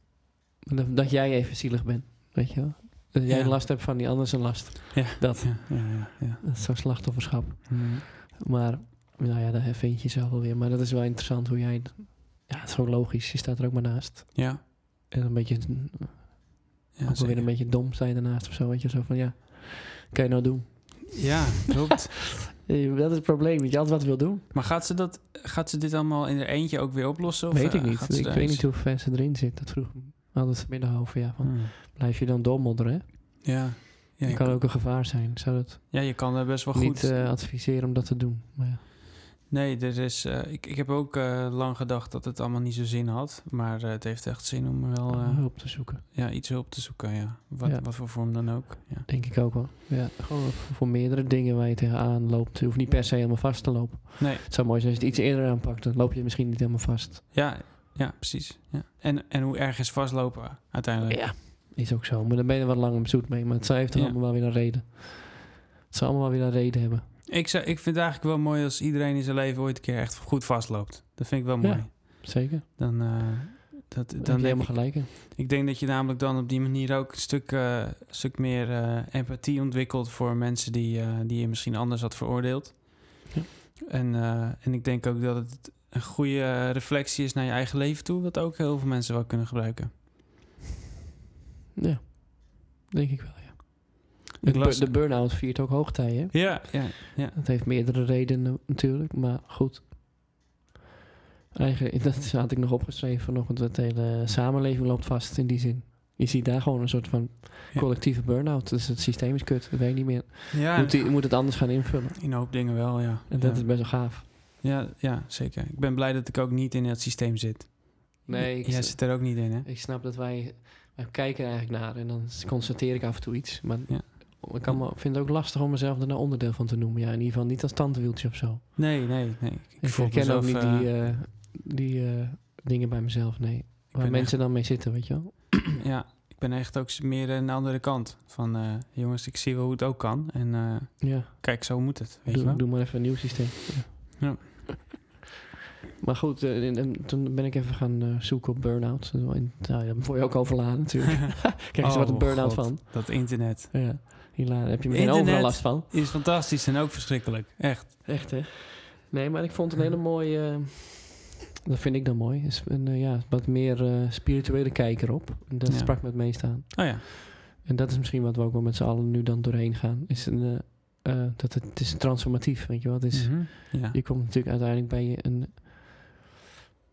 Maar Dat, dat jij even zielig bent, weet je wel? Dat jij
Ja.
last hebt van die ander zijn last.
Ja.
Dat,
Ja, ja, ja. ja.
dat is zo'n slachtofferschap.
Hmm.
Maar, nou ja, daar vind je jezelf wel weer. Maar dat is wel interessant hoe jij... Ja, het is ook logisch. Je staat er ook maar naast.
Ja.
En een beetje...
Ja,
ook wel weer
zeker.
een beetje dom sta je ernaast of zo. Weet je, zo van, ja, kan je nou doen?
Ja, klopt.
Eh, Dat is het probleem, dat je altijd wat wil doen.
maar gaat ze, dat, gaat ze dit allemaal in haar eentje ook weer oplossen? Of
weet ik
eh,
niet.
gaat ze
Ik
daar
weet
iets-
niet hoe ver ze erin zit. Dat vroeg me altijd vanmiddag over. Ja, van,
Hmm.
Blijf je dan doormodderen? hè?
Ja. Ja,
dat
je
kan
kan,
ook een gevaar zijn. Zou dat
ja, je kan er best wel goed.
niet eh, adviseren om dat te doen? Maar ja.
nee, er is, eh, ik, ik heb ook eh, lang gedacht dat het allemaal niet zo zin had. Maar eh, het heeft echt zin om wel eh,
hulp te zoeken.
ja, iets hulp te zoeken. Ja. Wat,
Ja.
wat voor vorm dan ook. Ja.
Denk ik ook wel. Ja, gewoon voor, voor meerdere dingen waar je tegenaan loopt. Je hoeft niet per se helemaal vast te lopen.
Nee.
Het zou mooi zijn als je het iets eerder aanpakt. Dan loop je misschien niet helemaal vast.
Ja, ja precies. Ja. En, en hoe erg is vastlopen uiteindelijk?
Ja. Is ook zo. Maar daar ben je wat lang om zoet mee. Maar het zou- heeft toch
Ja.
allemaal wel weer een reden. Het zou allemaal wel weer een reden hebben.
Ik, zou, ik vind het eigenlijk wel mooi als iedereen in zijn leven ooit een keer echt goed vastloopt. Dat vind ik wel mooi.
Ja. Zeker.
Dan, eh, dat, dan
Dan heb je
denk ik,
helemaal gelijk. in.
ik denk dat je namelijk dan op die manier ook een stuk, eh, een stuk meer eh, empathie ontwikkelt voor mensen die, eh, die je misschien anders had veroordeeld.
Ja.
En, eh, en ik denk ook dat het een goede reflectie is naar je eigen leven toe, wat ook heel veel mensen wel kunnen gebruiken.
Ja. Denk ik wel, ja.
Ik
De,
las-
bur- de burn-out viert ook hoogtij, hè?
Ja, ja, ja.
Dat heeft meerdere redenen natuurlijk, maar goed. Eigenlijk, dat had ik nog opgeschreven vanochtend, dat de hele samenleving loopt vast in die zin. Je ziet daar gewoon een soort van
Ja.
collectieve burn-out. Dus het systeem is kut, dat weet je niet meer.
ja
Moet, die, moet het anders gaan invullen.
in een hoop dingen wel, ja.
En dat
ja.
is best wel gaaf.
Ja, ja, zeker. Ik ben blij dat ik ook niet in het systeem zit.
Nee, ik,
Jij zit er ook niet in, hè?
ik snap dat wij, wij kijken er eigenlijk naar en dan constateer ik af en toe iets. Maar
Ja.
ik kan me, vind het ook lastig om mezelf er een onderdeel van te noemen. Ja, in ieder geval niet als tandenwieltje of zo.
Nee, nee, nee.
Ik
voel
herken ook
mezelf,
niet
eh,
die, eh, die eh, dingen bij mezelf, nee. Waar
ben
mensen dan mee zitten, weet je wel.
Ja, ik ben echt ook meer aan de andere kant. Van eh, jongens, ik zie wel hoe het ook kan. En eh,
Ja,
kijk, zo moet het. Weet je
doe,
wel?
doe maar even een nieuw systeem. Ja.
Ja.
maar goed, eh, en- en toen ben ik even gaan eh, zoeken op burn-out. Dat is wel in- Nou, daar word je ook overladen natuurlijk. Kijk eens
Oh,
wat een burn-out
God.
van.
Dat internet
Ja, helaas heb je meteen
Internet.
overal last van.
is fantastisch en ook verschrikkelijk. Echt.
Echt, hè? Nee, maar ik vond een hele mooie... eh, dat vind ik dan mooi. Is een eh, ja, wat meer eh, spirituele kijker op. En dat
Ja.
sprak me het meest aan.
Oh ja.
En dat is misschien wat we ook wel met z'n allen nu dan doorheen gaan. Is een, eh, eh, dat het, het is transformatief, weet je wel. Het is,
Mhm. ja.
Je komt natuurlijk uiteindelijk bij een...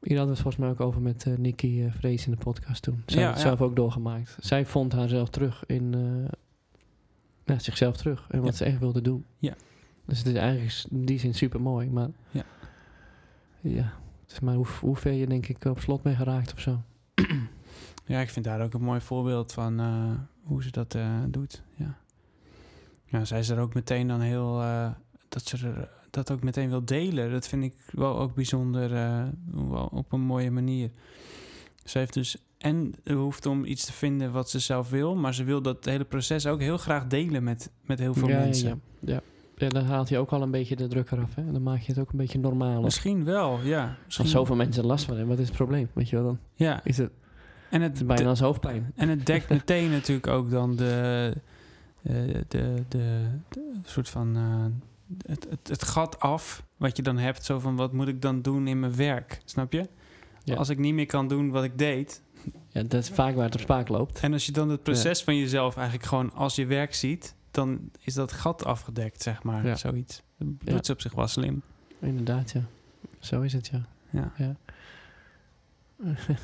Hier hadden we het volgens mij ook over met eh Nicky eh, Vrees in de podcast toen. Zij
Ja,
had het
ja.
zelf ook doorgemaakt. Zij vond haarzelf terug in... eh, ja, zichzelf terug. En wat
Ja.
ze echt wilde doen.
Ja.
Dus het is eigenlijk in die zin super mooi. Maar
Ja.
ja het is maar hoe, hoe ver je denk ik op slot mee geraakt of zo.
ja, ik vind daar ook een mooi voorbeeld van eh, hoe ze dat eh, doet. Ja. ja, zij is er ook meteen dan heel... eh, dat ze er, dat ook meteen wil delen. Dat vind ik wel ook bijzonder eh, wel op een mooie manier. Ze heeft dus en de behoefte om iets te vinden wat ze zelf wil, maar ze wil dat hele proces ook heel graag delen met, met heel veel
ja,
mensen.
Ja, ja. ja. Ja, dan haalt je ook al een beetje de druk eraf. Hè? Dan maak je het ook een beetje normaler.
Misschien wel, ja. Misschien,
Als zoveel mensen er last van hebben, wat is het probleem? Weet je wel, dan
Ja,
is het
en
het is
het,
bijna als hoofdpijn.
en het dekt meteen natuurlijk ook dan de, eh, de, de, de, soort van eh, het, het, het gat af wat je dan hebt. Zo van wat moet ik dan doen in mijn werk, snap je?
Ja.
Als ik niet meer kan doen wat ik deed,
Ja, dat is vaak waar het op spaak loopt.
En als je dan het proces van jezelf eigenlijk gewoon als je werk ziet, dan is dat gat afgedekt, zeg maar.
Ja.
Zoiets. Dat
Ja.
doet ze op zich wel slim.
Inderdaad, ja. Zo is het, ja.
Ja.
Ja.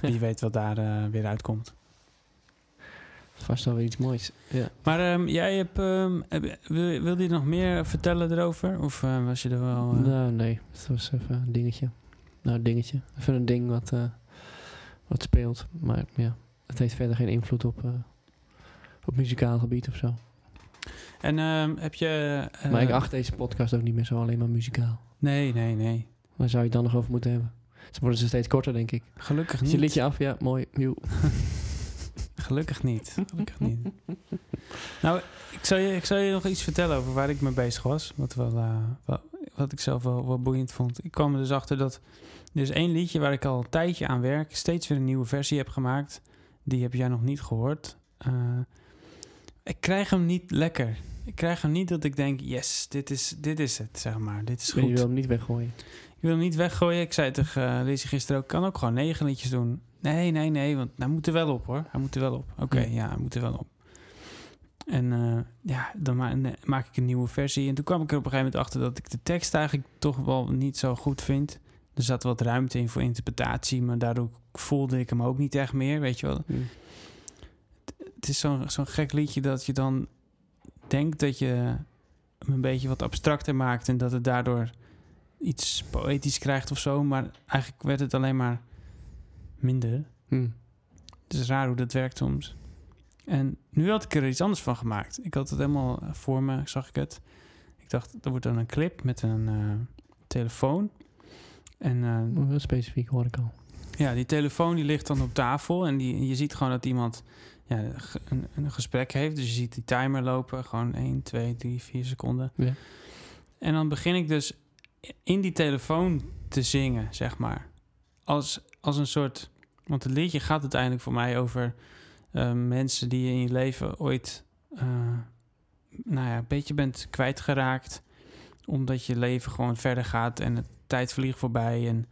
Wie weet wat daar eh, weer uitkomt.
Vast wel weer iets moois. Ja.
Maar ehm, jij hebt. ehm, heb- wil, wil je nog meer vertellen erover? Of eh, was je er wel. eh,
Nou, nee. Het was even een dingetje. Nou, een dingetje. Even een ding wat, eh, wat speelt. Maar ja, het heeft verder geen invloed op, eh, op muzikaal gebied of zo.
En ehm, heb je. eh,
maar ik acht deze podcast ook niet meer zo alleen maar muzikaal.
Nee, nee, nee.
Waar zou je het dan nog over moeten hebben? Ze worden ze steeds korter, denk ik.
Gelukkig
Is Dus je
niet.
liedje af? Ja, mooi. Joe.
Gelukkig niet. Gelukkig niet. nou, ik zal, je, ik zal je nog iets vertellen over waar ik mee bezig was. Wat, wel, eh, wel- wat ik zelf wel, wel boeiend vond. Ik kwam er dus achter dat er is één liedje waar ik al een tijdje aan werk. Steeds weer een nieuwe versie heb gemaakt. Die heb jij nog niet gehoord. Eh, ik krijg hem niet lekker. Ik krijg hem niet dat ik denk, yes, dit is, dit is het, zeg maar. Dit is
Je wil
goed.
hem niet weggooien.
Ik wil hem niet weggooien. Ik zei tegen uh, Lizzie gisteren ook, kan ook gewoon negen liedjes doen. Nee, nee, nee, want hij moet er wel op hoor. Hij moet er wel op. Oké,
Ja.
ja. hij moet er wel op. En eh, ja, dan ma- ne- maak ik een nieuwe versie. En toen kwam ik er op een gegeven moment achter dat ik de tekst eigenlijk toch wel niet zo goed vind. Er zat wat ruimte in voor interpretatie, maar daardoor voelde ik hem ook niet echt meer, weet je wel het is zo'n zo'n gek liedje dat je dan denkt dat je hem een beetje wat abstracter maakt en dat het daardoor iets poëtisch krijgt of zo, maar eigenlijk werd het alleen maar minder.
Hm.
Het is raar hoe dat werkt soms. En nu had ik er iets anders van gemaakt. Ik had het helemaal eh, voor me, zag ik het. Ik dacht, er wordt dan een clip met een eh, telefoon. En eh, Oh,
Heel specifiek hoor ik al.
ja, die telefoon die ligt dan op tafel en die, je ziet gewoon dat iemand ja, ge- een, een gesprek heeft. Dus je ziet die timer lopen, gewoon 1, 2, 3, 4 seconden.
Ja.
En dan begin ik dus in die telefoon te zingen, zeg maar. Als, als een soort. Want het liedje gaat uiteindelijk voor mij over eh, mensen die je in je leven ooit. eh, nou ja, een beetje bent kwijtgeraakt. Omdat je leven gewoon verder gaat en de tijd vliegt voorbij. En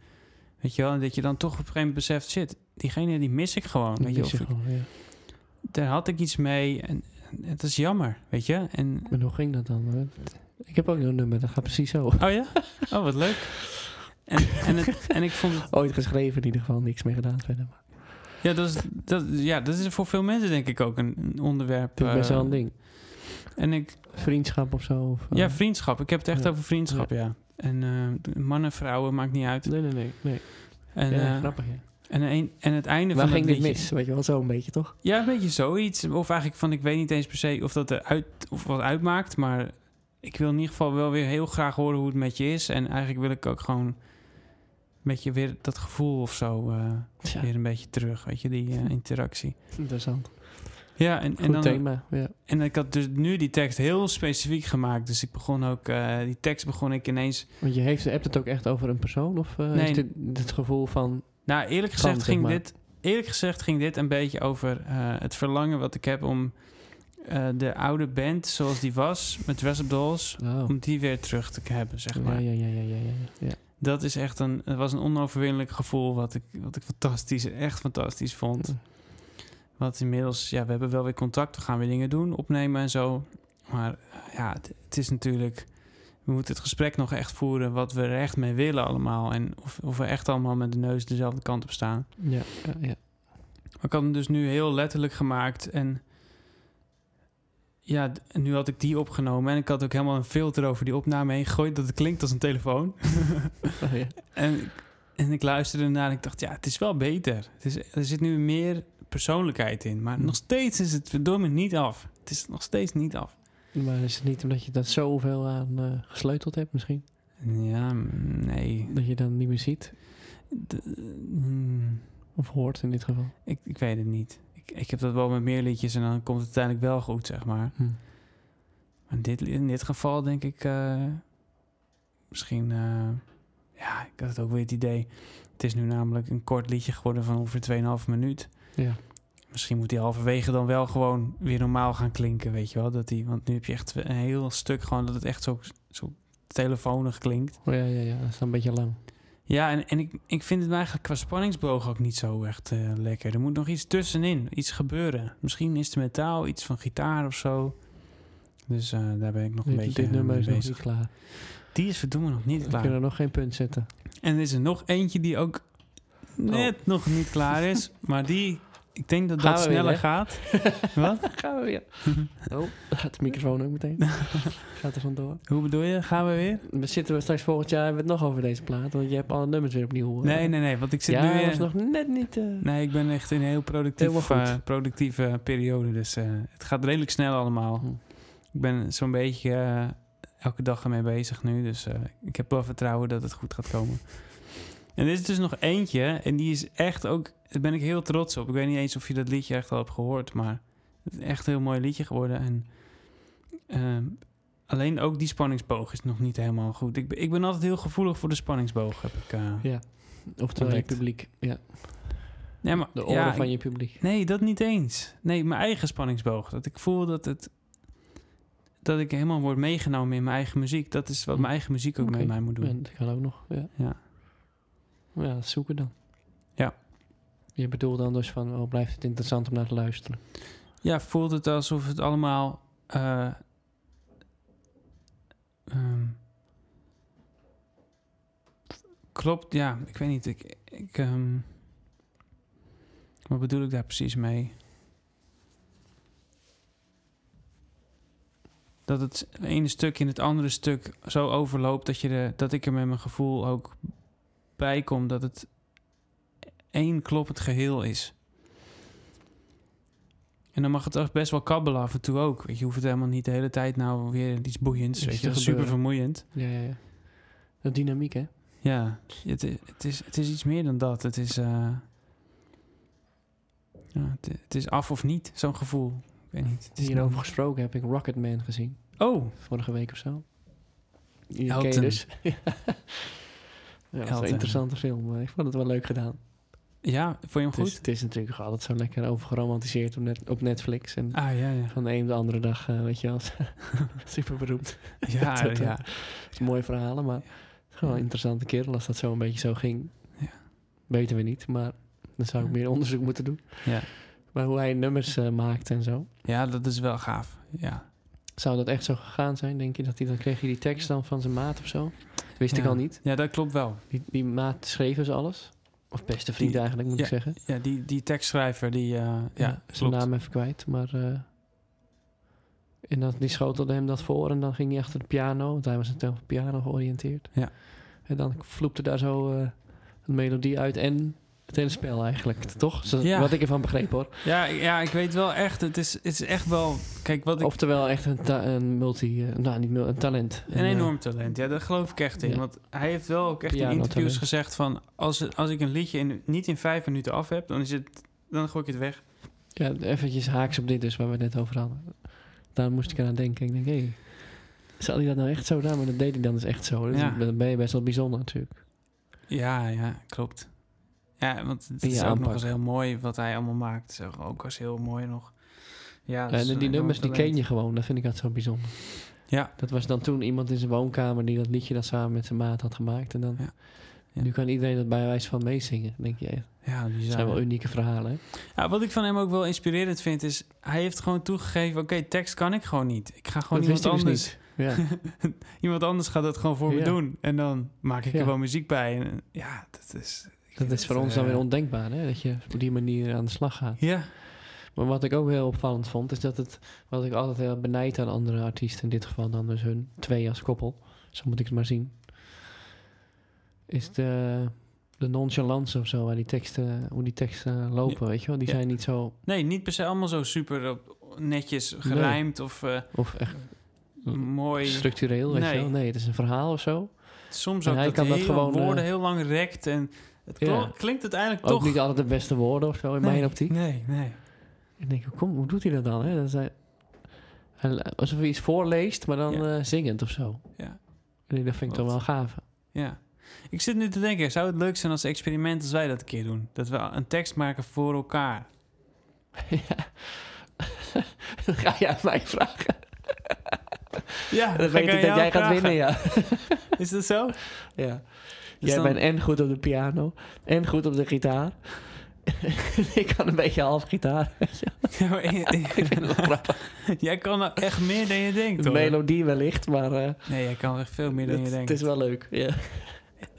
weet je wel, en dat je dan toch op een gegeven moment beseft: shit, diegene die mis ik gewoon. Weet je,
Wist
of
je gewoon, ja.
daar had ik iets mee en en het is jammer, weet je? En,
Maar hoe ging dat dan? Ik heb ook zo'n nummer, dat gaat precies zo.
oh ja? Oh, wat leuk. En, en, het, en ik vond het...
Ooit geschreven in ieder geval, niks mee gedaan verder. Maar
Ja dat, is, dat, ja, dat is voor veel mensen denk ik ook een, een onderwerp.
het is best
eh,
wel een ding.
En ik...
Vriendschap of zo. Of, eh,
Ja, vriendschap. Ik heb het echt
Ja.
over vriendschap, ja. En eh, mannen, vrouwen, maakt niet uit.
Nee, nee, nee. nee.
En,
Ja,
eh,
grappig, ja.
en, een- en het einde
Waar
van
ging
het
dit
liedje-
mis? Weet je wel, zo'n beetje toch?
Ja, een beetje zoiets. Of eigenlijk van, ik weet niet eens per se of dat er uit, of wat uitmaakt. Maar ik wil in ieder geval wel weer heel graag horen hoe het met je is. En eigenlijk wil ik ook gewoon met je weer dat gevoel of zo eh,
Tja,
weer een beetje terug. Weet je, die eh, interactie.
interessant.
Ja, en,
Hm. Goed
en, dan,
thema, ja.
en ik had dus nu die tekst heel specifiek gemaakt. Dus ik begon ook, eh, die tekst begon ik ineens...
Want je heeft, hebt het ook echt over een persoon? Of eh,
Nee.
is dit het gevoel van...
Nou, eerlijk
Kan,
gezegd,
zeg
ging
maar.
dit, eerlijk gezegd ging dit een beetje over eh, het verlangen wat ik heb om... eh, de oude band zoals die was met Dress Up Dolls
Oh,
om die weer terug te hebben, zeg maar.
ja, ja, ja, ja, ja, ja. ja.
Dat is echt een, het was een onoverwinnelijk gevoel wat ik, wat ik fantastisch, echt fantastisch vond. Wat inmiddels, ja, we hebben wel weer contact, we gaan weer dingen doen, opnemen en zo. Maar eh, ja, het, het is natuurlijk, we moeten het gesprek nog echt voeren wat we er echt mee willen allemaal. En of, of we echt allemaal met de neus dezelfde kant op staan.
Ja, ja, ja.
Maar ik had hem dus nu heel letterlijk gemaakt. En ja, d- en nu had ik die opgenomen. En ik had ook helemaal een filter over die opname heen gegooid. Dat het klinkt als een telefoon.
Oh, ja.
en, ik- en ik luisterde ernaar en ik dacht, ja, het is wel beter. Het is, er zit nu meer persoonlijkheid in. Maar nog steeds is het verdomme niet af. Het is nog steeds niet af.
Maar is het niet omdat je daar zoveel aan eh, gesleuteld hebt misschien?
Ja, mm, nee.
Dat je dan niet meer ziet?
D- mm,
Of hoort in dit geval?
ik, ik weet het niet. Ik, ik heb dat wel met meer liedjes en dan komt het uiteindelijk wel goed, zeg maar.
Hm.
Maar in dit, in dit geval denk ik eh, misschien, eh, ja, ik had ook weer het idee. Het is nu namelijk een kort liedje geworden van ongeveer 2,5 minuut.
Ja.
Misschien moet die halverwege dan wel gewoon weer normaal gaan klinken, weet je wel. Dat die, want nu heb je echt een heel stuk gewoon dat het echt zo, zo telefonig klinkt.
Oh, ja, ja, ja. Dat is dan een beetje lang.
Ja, en, en ik, ik vind het eigenlijk qua spanningsboog ook niet zo echt eh, lekker. Er moet nog iets tussenin, iets gebeuren. Misschien instrumentaal, iets van gitaar of zo. Dus eh, daar ben ik nog een
Dit,
beetje
dit nummer
mee
is nog
bezig.
niet klaar.
Die is verdomme nog niet
We
klaar.
kunnen nog geen punt zetten.
En er is er nog eentje die ook net nog niet klaar is. Maar die, ik denk dat
Oh. Gaan
dat
we weer,
sneller
hè?
gaat. Wat?
Gaan we weer. Oh, gaat de microfoon ook meteen. Gaat er vandoor.
Hoe bedoel je? Gaan we weer?
We zitten we straks volgend jaar hebben we het nog over deze plaat. Want je hebt alle nummers weer opnieuw. eh.
Nee, nee, nee. Want ik zit
ja,
nu...
dat
eh,
was nog net niet... eh,
Nee, ik ben echt in een heel
Helemaal
productief,
goed.
eh, productieve periode. Dus eh, het gaat redelijk snel allemaal.
Hm.
Ik ben zo'n beetje eh, elke dag ermee bezig nu. Dus eh, ik heb wel vertrouwen dat het goed gaat komen. En er is dus nog eentje. En die is echt ook... Daar ben ik heel trots op. Ik weet niet eens of je dat liedje echt al hebt gehoord. Maar het is echt een heel mooi liedje geworden. En... ehm, Alleen ook die spanningsboog is nog niet helemaal goed. Ik, ben- ik ben altijd heel gevoelig voor de spanningsboog, heb ik. eh.
Ja. Oftewel je
Ontdekt.
publiek. Ja.
Nee, maar,
De oren
ja,
van
ik-
je publiek.
Nee, dat niet eens. Nee, mijn eigen spanningsboog. Dat ik voel dat het. dat ik helemaal word meegenomen in mijn eigen muziek. Dat is wat mijn eigen muziek ook
Oké.
met mij moet doen.
Ja, dat kan ook nog. Ja.
Ja.
Ja, dat zoeken dan.
Ja.
Je bedoelt dan dus van, oh, blijft het interessant om naar te luisteren.
Ja, voelt het alsof het allemaal. eh, ehm, klopt, ja, ik weet niet. Ik, ik, ehm, wat bedoel ik daar precies mee? Dat het ene stuk in het andere stuk zo overloopt dat, je de, dat ik er met mijn gevoel ook bij kom. Dat het één kloppend geheel is. En dan mag het echt best wel kabbelen af en toe ook. Weet je, hoeft het helemaal niet de hele tijd nou weer iets boeiends.
Iets
Weet
te
je, dat is super
gebeuren.
vermoeiend.
Ja, ja, ja. Dat dynamiek, hè?
Ja, het, i- het, is, het is iets meer dan dat. Het is, eh, Ja, het, het is af of niet, zo'n gevoel. Ik weet niet. Het is
Hierover gesproken heb ik Rocketman gezien.
Oh,
Vorige week of zo. Die ken je
Elton.
dus. ja, dat is
Elton.
een interessante film. maar Ik vond het wel leuk gedaan.
ja, vond je hem
Het
goed?
is, het is natuurlijk altijd zo lekker overgeromantiseerd op, net, op Netflix. En
Ah, ja, ja.
van de een op de andere dag, eh, weet je wel, super beroemd.
Ja,
Dat, eh,
ja.
Mooie verhalen, maar gewoon
Ja.
een interessante kerel als dat zo een beetje zo ging.
Ja.
Weten we niet, maar dan zou ik
Ja.
meer onderzoek moeten doen.
Ja.
Maar hoe hij nummers eh, maakt en zo.
ja, dat is wel gaaf. Ja.
Zou dat echt zo gegaan zijn, denk je? Dat hij dan kreeg hij die tekst dan van zijn maat of zo? Dat wist ik
Ja.
al niet.
ja, dat klopt wel.
Die, die maat schreef dus alles. Of beste vriend
Die-
eigenlijk, moet ik zeggen.
Ja, die, die tekstschrijver, die... eh, ja,
zijn
klopt.
naam even kwijt, maar... eh, en dat, die schotelde hem dat voor en dan ging hij achter de piano. Want hij was natuurlijk op piano georiënteerd.
Ja.
En dan vloepte daar zo eh, een melodie uit en het hele spel eigenlijk, toch? Zo-
Ja.
Wat ik ervan begreep hoor.
Ja, ik- ja, ik weet wel echt. Het is, het is echt wel... Kijk, wat ik...
Oftewel echt een, ta- een multi... eh, nou, niet mul- een talent.
Een
eh,
enorm talent. Ja, daar geloof ik echt in.
Ja.
Want hij heeft wel ook echt in
Pianotalent.
interviews gezegd van... Als, als ik een liedje in, niet in vijf minuten af heb, dan, is het, dan gooi ik het weg.
Ja, eventjes haaks op dit dus, waar we het net over hadden. Daar moest ik aan denken. Ik denk, hé, zal hij dat nou echt zo doen? Maar dat deed hij dan dus echt zo. Dus
Ja.
Dan ben je best wel bijzonder natuurlijk.
Ja, ja, klopt. Ja, want het
In
is
je
ook nog
aanpak.
eens heel mooi wat hij allemaal maakt. Is ook- Ook als heel mooi nog. Ja, dat is
en die
een enorm
nummers, die
talent.
ken je gewoon. Dat vind ik altijd zo bijzonder.
Ja.
Dat was dan toen iemand in zijn woonkamer die dat liedje dan samen met zijn maat had gemaakt. En dan,
Ja. Ja.
nu kan iedereen dat bij wijze van meezingen. Dan denk je, hé, dat
Ja, die
zijn wel unieke verhalen. hè?
Ja, wat ik van hem ook wel inspirerend vind is... Hij heeft gewoon toegegeven, oké, tekst kan ik gewoon niet. Ik ga gewoon
dat wist
iemand
hij dus
anders...
niet. Ja.
Iemand anders gaat dat gewoon voor me
Ja.
doen. En dan maak ik
Ja.
er wel muziek bij. En, eh, ja, dat is... ik
Dat
vind
is voor
het,
ons dan
eh,
weer ondenkbaar, hè? Dat je op die manier aan de slag gaat.
Ja,
Maar wat ik ook heel opvallend vond, is dat het, wat ik altijd heel benijd aan andere artiesten, in dit geval dan dus hun twee als koppel, zo moet ik het maar zien, is de, de nonchalance of zo, waar die teksten, hoe die teksten lopen, weet je wel. Die
Ja.
zijn niet zo,
nee, niet per se allemaal zo super op- netjes gerijmd of eh,
of echt Mm.
mooi.
structureel, weet
Nee.
je wel. Nee, het is een verhaal of zo.
Soms
En
ook
hij
dat
kan dat
heel
gewoon, eh,
woorden heel lang rekt en het klo-
Ja.
klinkt uiteindelijk
Ook
toch...
niet altijd de beste woorden of zo, in
Nee,
mijn optiek.
Nee, nee.
Ik denk, hoe, kom, hoe doet hij dat dan? Hè? Dat is hij, hij- alsof hij iets voorleest, maar dan
Ja.
eh, zingend of zo.
Ja.
En ik- dat vind ik toch
Wat?
wel gaaf.
Ja. Ik zit nu te denken, zou het leuk zijn als experiment als wij dat een keer doen? Dat we een tekst maken voor elkaar.
Ja. Dat ga je aan mij vragen.
Ja,
Dat weet ik dat jij gaat winnen, ja.
Is dat zo?
ja.
Dus
jij
dan-
bent en goed op de piano, en goed op de gitaar. ik kan een beetje half gitaar.
Ja, maar-
ik vind het wel grappig.
jij kan nou echt meer dan je denkt,
De
hoor.
melodie wellicht, maar eh,
Nee, jij kan echt veel meer dan
het,
je
het
denkt.
is wel leuk. Ja.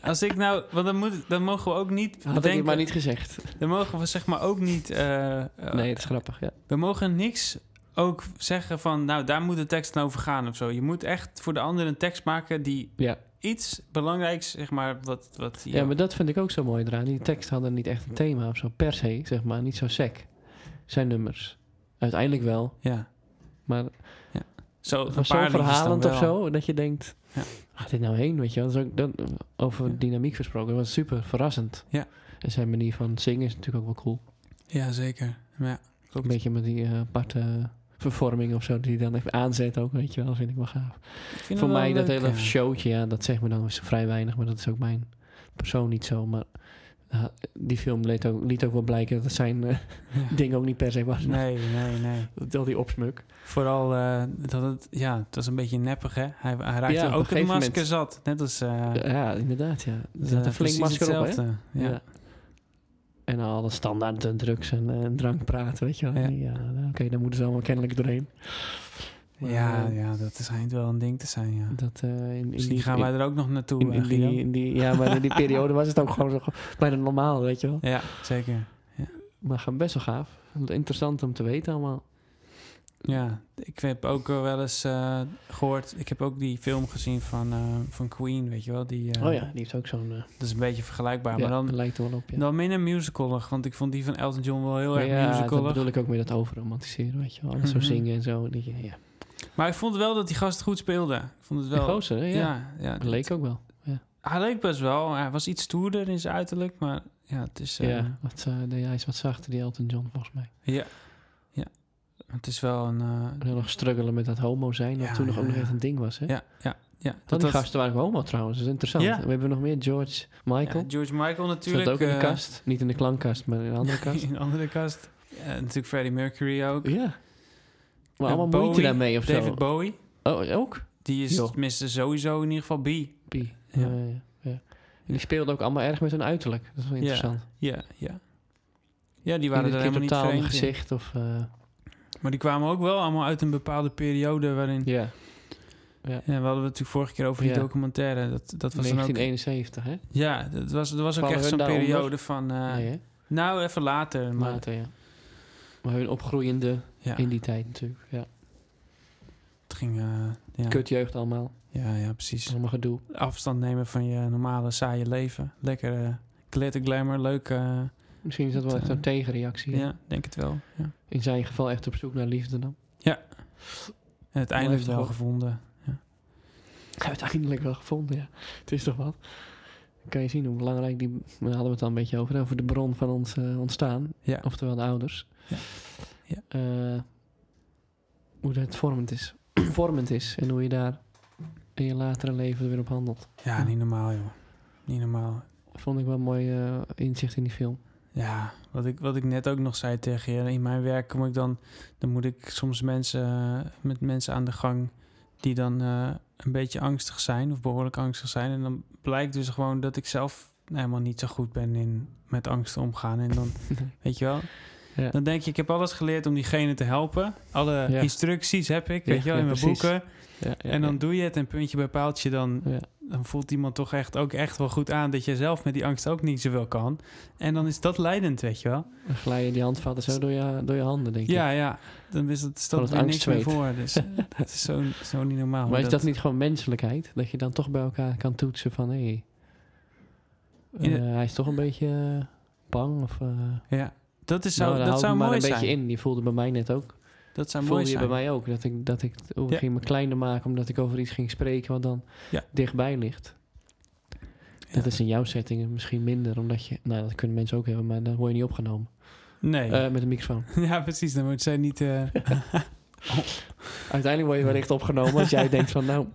Als ik nou, want dan, moet, dan mogen we ook niet
Had ik
bedenken-
het maar niet gezegd.
Dan mogen we zeg maar ook niet. eh, eh,
Nee, het is grappig, ja.
We mogen niks ook zeggen van. Nou, daar moet de tekst nou over gaan of zo. Je moet echt voor de ander een tekst maken die
Ja.
iets belangrijks, zeg maar, wat. wat
ja. maar dat vind ik ook zo mooi eraan. Die teksten hadden niet echt een thema of zo, per se, zeg maar. Niet zo sec. Zijn nummers. Uiteindelijk wel,
Ja.
maar
Zo,
Het
een
was zo
paar liedjes dan
verhalend of
wel.
zo, dat je denkt,
Ja.
gaat dit nou heen, weet je wel? Dat is ook, dat, over
Ja.
dynamiek gesproken, dat was super verrassend.
Ja.
En zijn manier van zingen is natuurlijk ook wel cool.
Ja, zeker. Maar ja,
Een beetje met die eh, aparte vervorming of zo, die hij dan even aanzet ook, weet je wel, vind ik wel gaaf.
ik vind
Voor
het wel
mij dat
leuk,
hele
ja.
showtje, ja, dat zegt me dan vrij weinig, maar dat is ook mijn persoon niet zo, maar... eh, die film liet ook, liet ook wel blijken dat het zijn eh,
Ja.
ding ook niet per se was.
Nee, nee, nee.
Dat al die opsmuk.
Vooral eh, dat het, ja, het was een beetje neppig, hè? Hij, hij raakte
Ja, op een
ook in de
gegeven
masker
moment.
zat. Net als. eh,
Ja, inderdaad, ja. Er zat
eh,
een flink
precies
masker op, hè?
hetzelfde. Ja.
Ja. En alle standaard eh, drugs en, eh, en drank praten, weet je wel.
Ja.
Ja, nou, oké, daar moeten ze allemaal kennelijk doorheen. Maar,
Ja,
eh,
ja, dat schijnt wel een ding te zijn, ja.
Dat, eh, in- in,
Misschien
die,
gaan wij er ook nog naartoe,
in, in,
eh,
die,
Guido.
in die- Ja, maar in die periode was het ook gewoon zo bijna normaal, weet je wel.
Ja, zeker.
Maar gaan best wel gaaf. Interessant om te weten allemaal.
Ja, ik heb ook eh, wel eens eh, gehoord... Ik heb ook die film gezien van, eh, van Queen, weet je wel? Die, eh,
oh ja, die heeft ook zo'n... eh,
Dat is een beetje vergelijkbaar,
ja,
maar dan,
lijkt er wel op, ja.
dan minder musicalig. Want ik vond die van Elton John wel heel erg
ja, dat
musicalig.
bedoel ik ook met dat overromantiseren, weet je wel. Alles
Mhm.
zo zingen en zo. Die, ja. ja.
Maar ik vond wel dat die gast goed speelde. Ik vond het
De
wel...
gozer, hè? Ja.
ja, ja,
Dat leek ook wel.
hij leek best wel. Hij was iets stoerder in zijn uiterlijk, maar ja, het is, eh,
ja, wat, eh, nee, hij is wat zachter, die Elton John, volgens mij.
ja. ja. Het is wel een... eh,
En dan nog struggelen met dat homo zijn, dat
Ja,
toen nog
ja,
ook nog
ja.
echt een ding was, hè?
ja, ja, ja.
Dat die
was-
gasten waren gewoon homo trouwens, dat is interessant.
Ja.
En We hebben nog meer George
Ja,
Michael.
George Michael natuurlijk.
Zat ook in de
eh,
kast. Niet in de klankkast, maar in een andere kast.
in een andere kast. Eh, natuurlijk Freddie Mercury ook.
ja. Maar
Ja,
allemaal moeite
Bowie,
daarmee of
David
zo.
Bowie.
oh, ook?
Die is
Joh.
tenminste sowieso in ieder geval B.
B. Ja. Ja, ja, En die speelden ook allemaal erg met hun uiterlijk. Dat is wel
Ja.
interessant.
Ja, ja. Ja, die waren
Iedere
er helemaal
keer
niet
totaal een
vreemd in.
gezicht of... eh,
Maar die kwamen ook wel allemaal uit een bepaalde periode waarin... Ja.
ja,
we hadden het natuurlijk vorige keer over die
Ja.
documentaire. Dat, dat was dan ook...
1971, hè?
Ja, dat was, dat was ook
Vallen
echt zo'n
hun daaronder?
periode van... eh,
nee, hè?
Nou, even later. Maar,
Maarten, ja. Maar hun opgroeiende
ja,
in die tijd natuurlijk. Ja.
het ging... eh, ja.
Kutjeugd allemaal.
ja, ja, precies.
Allemaal gedoe.
Afstand nemen van je normale, saaie leven. Lekker eh, glitter, glamour, leuk... eh,
Misschien is dat wel echt zo'n
Eh,
tegenreactie. hè?
Ja, denk het wel. Ja.
In zijn geval echt op zoek naar liefde dan.
En uiteindelijk
Blijft
wel
toch-
gevonden.
Uiteindelijk wel gevonden, ja. Het is toch wat? Dan kan je zien hoe belangrijk die... We hadden het al een beetje over, hè, over de bron van ons eh, ontstaan.
Ja.
Oftewel de ouders.
Ja. Ja.
Eh, hoe dat vormend is. vormend is. En hoe je daar in je latere leven weer op handelt.
Ja, niet normaal, joh. Niet normaal.
Vond ik wel een mooi eh, inzicht in die film.
Ja, wat ik, wat ik net ook nog zei tegen je. In mijn werk kom ik dan... Dan moet ik soms mensen, eh, met mensen aan de gang... die dan eh, een beetje angstig zijn... of behoorlijk angstig zijn. En dan blijkt dus gewoon dat ik zelf... helemaal niet zo goed ben in met angsten omgaan. En dan, weet je wel...
Ja.
Dan denk je, ik heb alles geleerd om diegene te helpen. Alle
Ja.
instructies heb ik,
Ja,
weet je wel, in
ja,
mijn
precies.
boeken.
Ja, ja,
en dan
ja.
doe je het en puntje bij paaltje, dan,
Ja.
dan voelt iemand toch echt ook echt wel goed aan dat je zelf met die angst ook niet zoveel kan. En dan is dat leidend, weet je wel.
Dan glij je die handvatten zo door je, door je handen, denk ik.
Ja, ja. Dan is dat,
Van
staat
het
er niks meer
angstzweet.
voor. Dus eh, dat is zo, zo niet normaal.
Maar is dat niet gewoon menselijkheid? Dat je dan toch bij elkaar kan toetsen van... Hé, hey,
Ja.
eh, hij is toch een beetje eh, bang of... eh,
Ja, dat, is zo,
nou, dan hou
dat
ik
zou
me maar
mooi
een
zijn.
beetje in. Die voelde bij mij net ook.
Dat zou mooi
voelde je
zijn.
bij mij ook. Dat ik, dat ik oh, ik
Ja.
ging me kleiner maken omdat ik over iets ging spreken wat dan
Ja.
dichtbij ligt.
Ja.
Dat is in jouw setting misschien minder, omdat je... Nou, dat kunnen mensen ook hebben, maar dan word je niet opgenomen.
Nee.
Eh, met een microfoon.
ja, precies. Dan wordt zij niet... eh,
Uiteindelijk word je wellicht opgenomen als jij denkt van... Nou,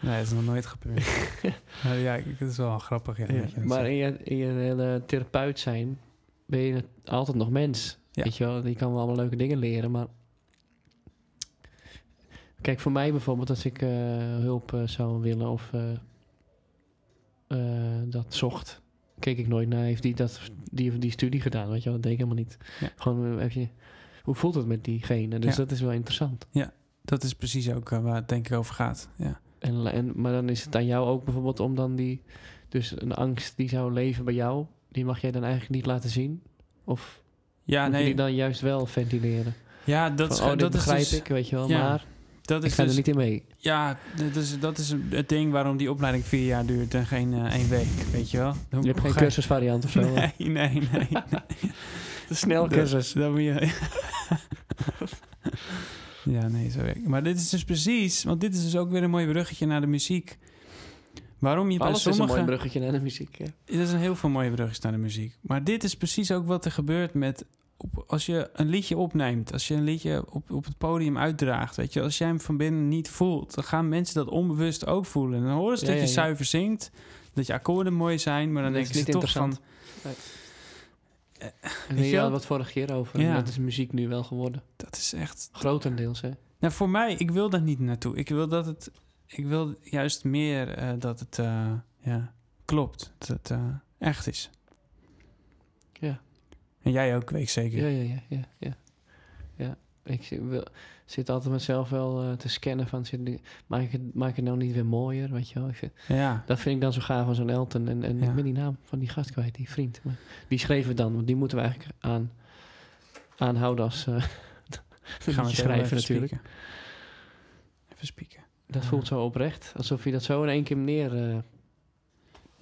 nee, dat is nog nooit gebeurd. Maar ja, ik- dat is wel grappig. Ja, dat je dat
Maar
zegt.
in je, in je hele therapeut zijn ben je het- altijd nog mens.
Ja.
Weet je wel, je kan wel allemaal leuke dingen leren, maar... Kijk, voor mij bijvoorbeeld, als ik eh, hulp eh, zou willen of eh, eh, dat zocht, keek ik nooit naar, heeft die dat, die of die studie gedaan, weet je wel, dat deed ik helemaal niet.
Ja.
Gewoon, eh, heb je, hoe voelt het met diegene? Dus
Ja.
dat is wel interessant.
dat is precies ook eh, waar het denk ik over gaat. Ja.
En, en, maar dan is het aan jou ook bijvoorbeeld om dan die... Dus een angst die zou leven bij jou... die mag jij dan eigenlijk niet laten zien? Of
Ja,
moet je
nee.
die dan juist wel ventileren?
Ja, dat,
Dat
is,
van, oh, dit
dat is
begrijp
dus-
ik, weet je wel.
ja,
maar
Dat
ik
is
ga
dus,
er niet in mee.
ja, dat is, dat is het ding waarom die opleiding vier jaar duurt en geen eh, één week, weet je wel. Dan
Je hebt geen
ga-
cursusvariant of zo.
Nee, nee, nee. nee.
Te snel cursus.
Dan moet je... ja, nee, zo werkt het. Maar dit is dus precies, want dit is dus ook weer een mooi bruggetje naar de muziek. Waarom je bij
Alles is een
sommige...
mooi bruggetje naar de muziek. hè.
Er zijn heel veel mooie brugjes naar de muziek. Maar dit is precies ook wat er gebeurt met... op- als je een liedje opneemt, als je een liedje op, op het podium uitdraagt... Weet je, als jij hem van binnen niet voelt... dan gaan mensen dat onbewust ook voelen. En dan horen ze
Ja,
dat
ja,
je
ja.
zuiver zingt... dat je akkoorden mooi zijn, maar dan
Dat
denken
is
ze
niet
toch van...
interessant.
Eh,
En
weet
we
je wel?
hadden wat vorige keer over.
Ja.
Dat is muziek nu wel geworden.
Dat is echt...
Grotendeels, hè.
Nou, voor mij, ik wil daar niet naartoe. Ik wil dat het... Ik wil juist meer eh, dat het eh, ja, klopt. Dat het eh, echt is.
Ja.
En jij ook, weet ik zeker.
Ja, ja, ja, ja, ja. ja. Ik zi- wil- zit altijd mezelf wel eh, te scannen van, zit die- maak, ik het, maak ik het nou niet weer mooier, weet je wel. Ik vind-
ja.
dat vind ik dan zo gaaf van zo'n Elton. En, en
Ja.
ik ben die naam van die gast kwijt, die vriend. Maar die schreven we dan, want die moeten we eigenlijk aan, aanhouden als... eh
Gaan we
liedje
het
schrijven
even
natuurlijk.
spieken. Even spieken.
Dat voelt zo oprecht, alsof je dat zo in één keer neer, eh,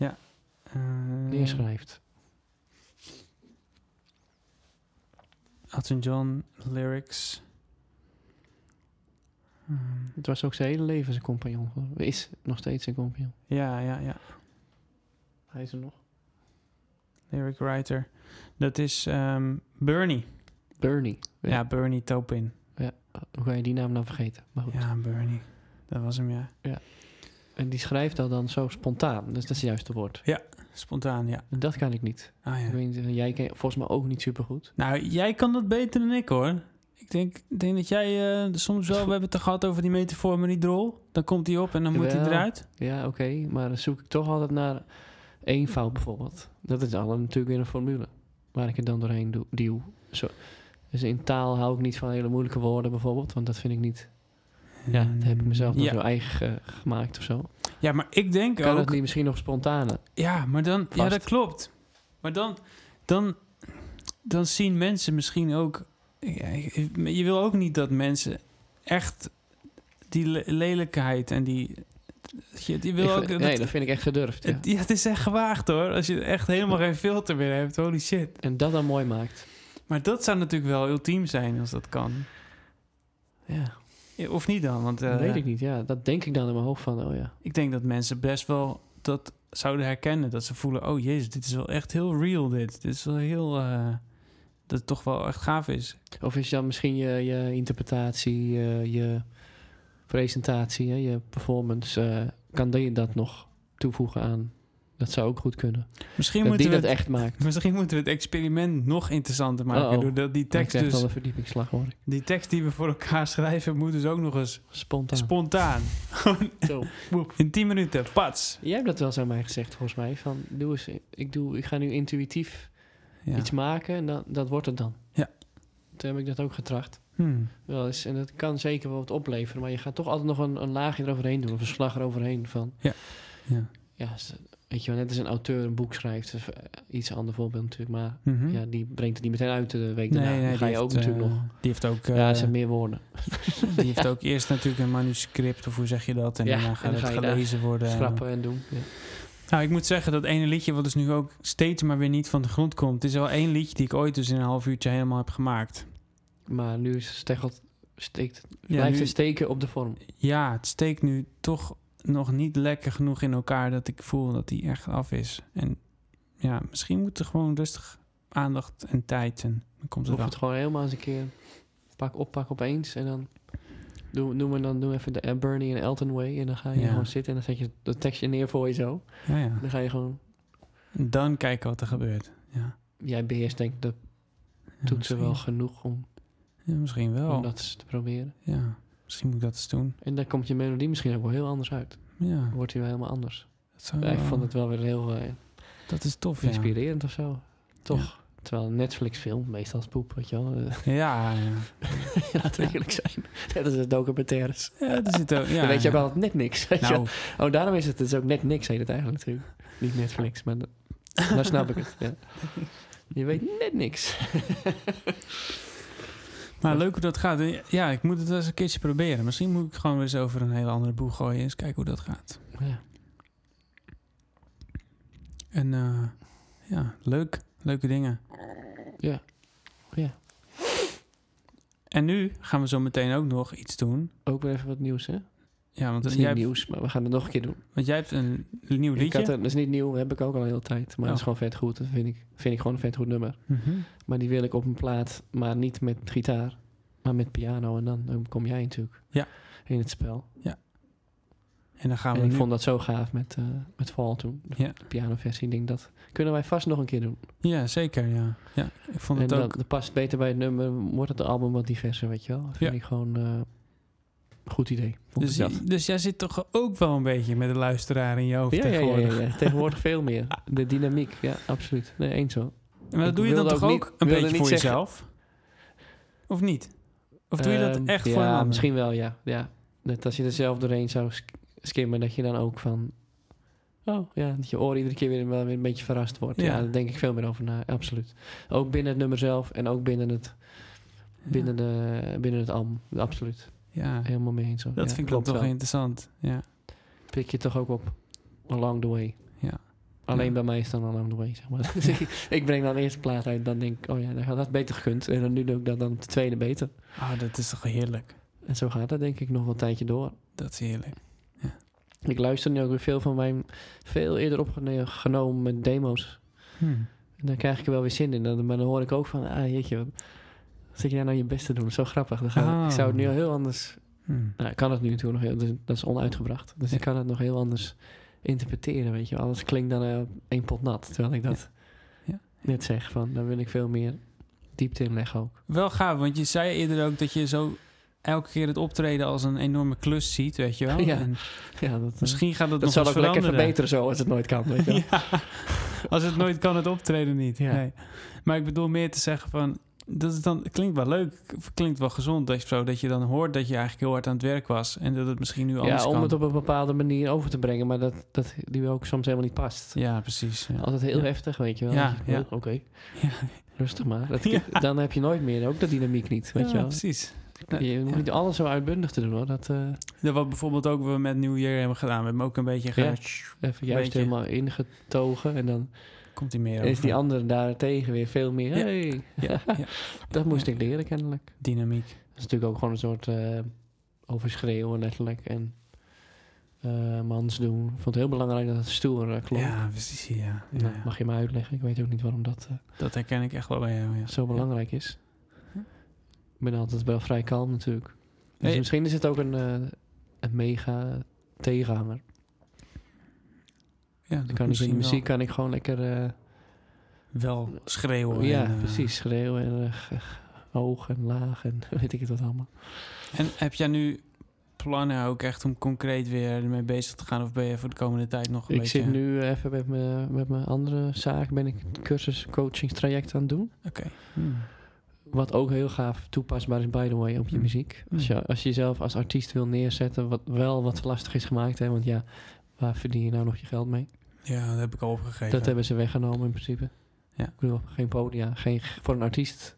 Eh,
neerschrijft.
Elton John lyrics. Ehm,
Het was ook zijn hele leven zijn compagnon. geworden. Is nog steeds zijn compagnon.
ja, ja, ja.
Hij is er nog.
Lyric writer. Dat is ehm, Bernie.
Bernie. Ja.
Ja, Bernie Taupin.
Hoe ga je die naam dan vergeten? Maar goed.
Ja, Bernie. Dat was hem, ja.
En die schrijft dat dan zo spontaan. Dus dat is het juiste woord.
Spontaan, ja.
En dat kan ik niet.
Ah, ja.
Ik weet, niet, eh, jij kan volgens mij ook niet supergoed.
Nou, jij kan dat beter dan ik hoor. Ik denk, ik denk dat jij eh, soms wel, we hebben het er gehad over die metafoor met die drol. Dan komt die op en dan moet die
Jawel.
eruit.
Ja, oké. maar dan zoek ik toch altijd naar eenvoud bijvoorbeeld. Dat is al een- natuurlijk weer een formule. Waar ik het dan doorheen doe, duw. Zo. Dus in taal hou ik niet van hele moeilijke woorden bijvoorbeeld. Want dat vind ik niet... Ja, dat heb ik mezelf nog
Mm, ja.
zo eigen eh, gemaakt of zo.
Ja, maar ik denk
Kan
ook.
dat niet misschien nog spontaner?
Ja, maar dan. Ja,
Vast.
dat klopt. Maar dan, dan, dan zien mensen misschien ook. ja, je wil ook niet dat mensen echt die le- lelijkheid en die. Je, je wil
Ik
ook.
vind- nee, dat vind ik echt gedurfd. ja.
het, ja, het is echt gewaagd hoor. Als je echt helemaal geen filter meer hebt. Holy shit.
En dat dan mooi maakt.
Maar dat zou natuurlijk wel ultiem zijn als dat kan.
Ja,
Ja, Of niet dan? Want eh,
dat weet ik niet. Ja, dat denk ik dan in mijn hoofd van, oh ja.
ik denk dat mensen best wel dat zouden herkennen. Dat ze voelen, oh jezus, dit is wel echt heel real dit. Dit is wel heel... eh, dat het toch wel echt gaaf is.
Of is dan misschien je, je interpretatie, je, je presentatie, hè, je performance, eh, kan die dat nog toevoegen aan? Dat zou ook goed kunnen.
Misschien,
dat die
moeten we
dat
het,
echt maakt.
misschien moeten we het experiment nog interessanter maken.
Uh-oh.
Doordat die
Dat is
tekst,
echt
dus,
wel een verdiepingsslag hoor. ik.
die tekst die we voor elkaar schrijven... moet dus ook nog eens
Spontaan.
spontaan.
Zo. Woep.
In 10 minuten, pats.
Jij hebt dat wel eens aan mij gezegd volgens mij. Van, doe eens, ik, doe, ik ga nu intuïtief
Ja.
iets maken en dan, dat wordt het dan.
Ja.
Toen heb ik dat ook getracht.
Hmm.
wel eens. En dat kan zeker wel wat opleveren. Maar je gaat toch altijd nog een, een laagje eroverheen doen. Of een slag eroverheen van...
Ja.
Ja, s- weet je wel, net als een auteur een boek schrijft. Of, eh, iets ander voorbeeld natuurlijk. Maar
Mhm.
ja, die brengt het niet meteen uit de week
Nee,
daarna.
nee,
dan ga
die
je ook
heeft,
natuurlijk
eh,
nog...
Die heeft ook...
ja,
eh,
er zijn meer woorden.
Die heeft ook eerst natuurlijk een manuscript, of hoe zeg je dat? En
Ja,
daarna
en
gaat
dan
het
ga je daar
gelezen worden.
Schrappen en doen. Ja.
Nou, ik moet zeggen dat ene liedje, wat dus nu ook steeds maar weer niet van de grond komt, is wel één liedje die ik ooit dus in een half uurtje helemaal heb gemaakt.
Maar nu is stegelt, steekt,
Ja,
blijft dus-
nu-
het steken op de vorm.
ja, het steekt nu toch nog niet lekker genoeg in elkaar dat ik voel dat die echt af is. En ja, misschien moet er gewoon rustig aandacht en tijd en dan komt
Dan
het
hoeft
wel.
het gewoon helemaal eens een keer pak op, pak opeens. En dan doe, noem en dan doe even de eh, Bernie en Elton Way. En dan ga je
Ja.
gewoon zitten en dan zet je dat tekstje neer voor je zo.
Ja, ja.
En dan ga je gewoon
En dan kijken wat er gebeurt. Ja,
jij beheerst denk ik de
Ja, Oh.
toetsen wel
misschien-
genoeg om,
Ja, misschien
om
wel.
dat eens te proberen.
Ja, misschien moet ik dat eens doen.
En dan komt je melodie misschien ook wel heel anders uit.
Ja,
Dan wordt hij wel helemaal anders.
dat, zou,
ik vond het wel weer heel eh,
dat is tof. Ja.
inspirerend of zo. Toch? Terwijl een Netflix film meestal is poep, weet je wel. Eh,
Ja, ja.
Laten we eerlijk zijn. Net als de documentaires.
Ja, er zit ook, ja,
dan weet je
ja.
ook altijd net niks. weet je wel.
Nou,
Oh, daarom is het, het is ook net niks, heet het eigenlijk natuurlijk. Niet Netflix, maar dat, daar snap ik het. Ja. Je weet net niks.
maar Nou, leuk hoe dat gaat. Ja, ik moet het wel eens een keertje proberen. Misschien moet ik gewoon weer eens over een hele andere boeg gooien. Eens kijken hoe dat gaat.
Ja.
En eh, ja, leuk. Leuke dingen.
Ja. Ja.
En nu gaan we zo meteen ook nog iets doen.
Ook weer even wat nieuws, hè?
Ja, want,
Dat is
jij
niet
hebt,
nieuws, maar we gaan het nog een keer doen.
want jij hebt een nieuw
Ik
liedje.
had een- dat is niet nieuw, heb ik ook al een hele tijd. Maar
Oh.
dat is gewoon vet goed. Dat vind ik, vind ik gewoon een vet goed nummer.
Mhm.
Maar die wil ik op een plaat, maar niet met gitaar, maar met piano. En dan dan kom jij natuurlijk
Ja.
in het spel.
En dan gaan we
en ik
nu-
vond dat zo gaaf met, eh met Fall toen. De
Ja.
pianoversie. Ik denk dat kunnen wij vast nog een keer doen.
Ja, zeker. Ja. ja ik vond
En
het
dan,
ook...
dan past het beter bij het nummer. Wordt het album wat diverser, weet je wel. Dat vind
Ja.
ik gewoon eh, een goed idee. Vond
Dus,
ik dat.
je- dus jij zit toch ook wel een beetje met de luisteraar in je hoofd
Ja, ja, ja,
tegenwoordig.
ja, ja. tegenwoordig veel meer. De dynamiek, ja, absoluut. Nee, eens hoor.
Maar dat
Ik
doe je dan
wilde
toch
ook
ook
niet-
een
wilde
beetje voor
niet zeggen-
jezelf? Of niet? Of doe je dat
Ehm,
echt
ja,
voor een ander?
misschien wel, ja. ja. Dat als je er zelf doorheen zou sk- skimmen, dat je dan ook van... Oh, ja, dat je oor iedere keer weer, wel weer een beetje verrast wordt. Ja.
Ja.
daar denk ik veel meer over na, absoluut. Ook binnen het nummer zelf en ook binnen het,
Ja.
binnen de, binnen het album, absoluut.
Ja,
Helemaal mee eens. hoor.
dat
Ja,
vind ik dan
klopt
toch
wel.
interessant. Ja.
Pik je toch ook op along the way.
Ja.
Alleen
Ja.
bij mij is dan along the way, zeg maar. Dus ik, ik breng dan eerst de plaat uit, dan denk ik, oh ja, dan had dat beter gekund. En dan nu doe ik dat dan op de tweede beter.
Ah, dat is toch heerlijk.
En zo gaat dat denk ik nog wel een tijdje door.
Dat is heerlijk.
Ik luister nu ook weer veel van mijn veel eerder opgenomen demo's.
Hm.
En daar krijg ik er wel weer zin in. En dan- Maar dan hoor ik ook van, ah jeetje, wat wat zit je daar nou je best te doen? Zo grappig. Dan ga-
Ah.
Ik zou het nu al heel anders...
Hm.
Nou, ik kan het nu natuurlijk nog heel... dus Dat is onuitgebracht. Dus ik kan het nog heel anders interpreteren, weet je wel. Alles klinkt dan eh, één pot nat. Terwijl ik dat
Ja.
net zeg van, daar wil ik veel meer diepte in leggen ook.
Wel gaaf, want je zei eerder ook dat je zo elke keer het optreden als een enorme klus ziet, weet je wel.
Ja.
En
Ja, dat, eh,
misschien gaat dat,
dat
nog
zal
eens
ook lekker
veranderen.
verbeteren zo als het nooit kan, weet je wel.
Ja. Als het nooit kan, het optreden niet.
Ja.
Nee. Maar ik bedoel meer te zeggen van... Dat is dan, het klinkt wel leuk, of klinkt wel gezond dat je, zo, dat je dan hoort dat je eigenlijk heel hard aan het werk was. En dat het misschien nu anders
Ja, om
kan.
het op een bepaalde manier over te brengen, maar dat, dat die ook soms helemaal niet past.
Ja, precies. Ja.
Altijd heel
Ja.
heftig, weet je wel.
Ja,
Dan denk je,
ja.
oh, Oké,
Ja.
rustig maar. Dat,
Ja.
Dan heb je nooit meer ook de dynamiek niet, weet
Ja,
je wel.
precies.
Je moet
Ja.
niet alles zo uitbundig te doen hoor. Dat eh,
Ja, wat bijvoorbeeld ook we met New Year hebben gedaan. We hebben ook een beetje ge...
Ja. even juist
Beetje.
helemaal ingetogen en dan
Komt hij meer
is die
over.
andere daartegen weer veel meer.
Ja.
Hey.
Ja, ja.
Dat moest ik leren kennelijk.
Dynamiek.
Dat is natuurlijk ook gewoon een soort eh, overschreeuwen letterlijk en eh, mans doen. Ik vond het heel belangrijk dat het stoer eh, klonk.
Ja, precies. Ja. Ja,
Nou,
ja.
Mag je me uitleggen? Ik weet ook niet waarom dat eh,
Dat herken ik echt wel bij jou. Ja.
zo belangrijk is.
Ja.
Ik ben altijd wel vrij kalm natuurlijk. Dus
Hey.
misschien is het ook een, eh, een mega tegenhanger.
Ja,
Dan kan ik in
misschien
de muziek
wel,
kan ik gewoon lekker eh,
wel schreeuwen.
ja,
en, eh,
precies, schreeuwen en eh, g- g- hoog en laag en weet ik het wat allemaal.
En heb jij nu plannen ook echt om concreet weer ermee bezig te gaan? Of ben je voor de komende tijd nog een
Ik
beetje...
zit nu even met mijn, met mijn andere zaak, ben ik een cursus coachingstraject aan het doen.
Oké. Hmm.
Wat ook heel gaaf toepasbaar is, by the way, op je
Mm.
muziek. Als je, als je jezelf als artiest wil neerzetten, wat wel wat lastig is gemaakt, hè, want ja, waar verdien je nou nog je geld mee?
Ja, dat heb ik al opgegeven.
Dat hebben ze weggenomen in principe.
Ja.
Ik bedoel, geen podia, geen, voor een artiest.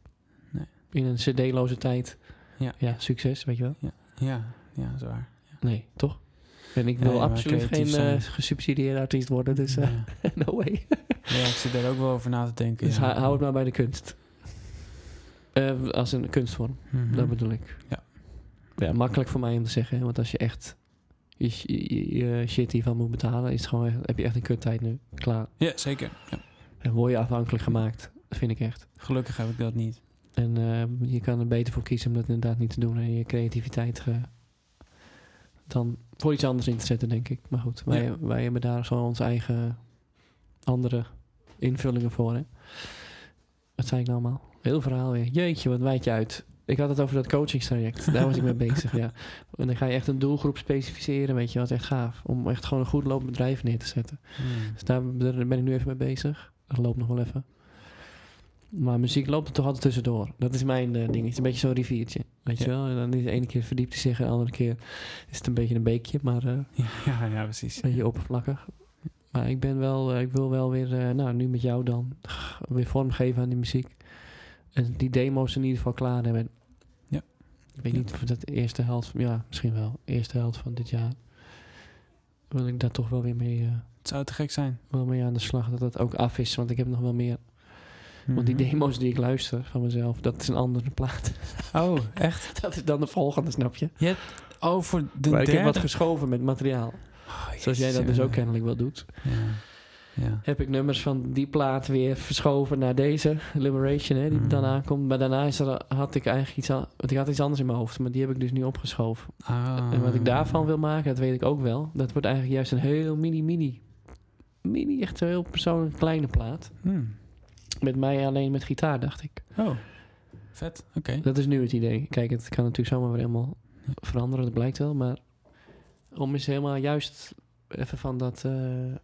Nee.
In een cd-loze tijd.
Ja.
ja, succes, weet je wel.
Ja, ja, dat is waar.
Nee, toch? En ik
Ja,
wil
je mag
absoluut geen
creatief
eh,
zijn.
gesubsidieerde artiest worden, dus eh,
ja.
no way.
Ja, ik zit daar ook wel over na te denken.
Dus
ja.
hou- hou het maar bij de kunst. Eh, als een kunstvorm,
Mhm.
nou- dat bedoel ik.
Ja.
ja. Makkelijk voor mij om te zeggen, hè, want als je echt je, sh- je, je shit hiervan moet betalen, is het gewoon, echt- heb je echt een kuttijd nu. Klaar.
Ja, zeker. Ja.
En word je afhankelijk gemaakt, vind ik echt.
Gelukkig heb ik dat niet.
En eh, je kan er beter voor kiezen om dat inderdaad niet te doen en je creativiteit eh, dan voor iets anders in te zetten, denk ik. Maar goed, wij,
Ja.
wij hebben daar gewoon onze eigen andere invullingen voor. Hè? Wat zei ik nou allemaal? Heel verhaal weer. Jeetje, wat wijd je uit. Ik had het over dat coachingstraject. Daar was ik mee bezig, ja. En dan ga je echt een doelgroep specificeren, weet je. Dat is echt gaaf. Om echt gewoon een goed lopend bedrijf neer te zetten.
Hmm.
Dus daar ben ben ik nu even mee bezig. Dat loopt nog wel even. Maar muziek loopt er toch altijd tussendoor. Dat is mijn eh, ding. Het is een beetje zo'n riviertje. Weet je
Ja.
wel? En dan is de ene keer verdiept hij zich en de andere keer is het een beetje een beekje, maar eh,
Ja, ja, ja, precies.
een beetje oppervlakkig. Maar ik ben wel, eh, ik wil wel weer, eh, nou nu met jou dan, weer vormgeven aan die muziek. En die demo's in ieder geval klaar hebben.
Ja.
Ik weet
Ja.
niet of dat de eerste helft, ja misschien wel, eerste helft van dit jaar. Wil ik daar toch wel weer mee... eh,
Het zou te gek zijn.
wel mee aan de slag dat dat ook af is. Want ik heb nog wel meer. Want die
Mhm.
demo's die ik luister van mezelf, dat is een andere plaat.
Oh, echt?
dat is dan de volgende, snap je?
Oh, voor de
maar ik
derde?
heb wat geschoven met materiaal.
Oh,
Zoals jij dat
jezus,
dus ook
ja.
kennelijk wel doet.
Ja. Ja.
Heb ik nummers van die plaat weer verschoven naar deze, Liberation, hè, die
Mm.
dan aankomt. Maar daarna is er, had ik eigenlijk iets, aan, want ik had iets anders in mijn hoofd. Maar die heb ik dus nu opgeschoven.
Ah.
En wat ik daarvan wil maken, dat weet ik ook wel. Dat wordt eigenlijk juist een heel mini, mini. Mini, echt een heel persoonlijk kleine plaat.
Hmm.
Met mij alleen met gitaar, dacht ik.
Oh, vet. Oké.
Dat is nu het idee. Kijk, het kan natuurlijk zomaar weer helemaal veranderen, dat blijkt wel. Maar om eens helemaal juist even van dat... eh,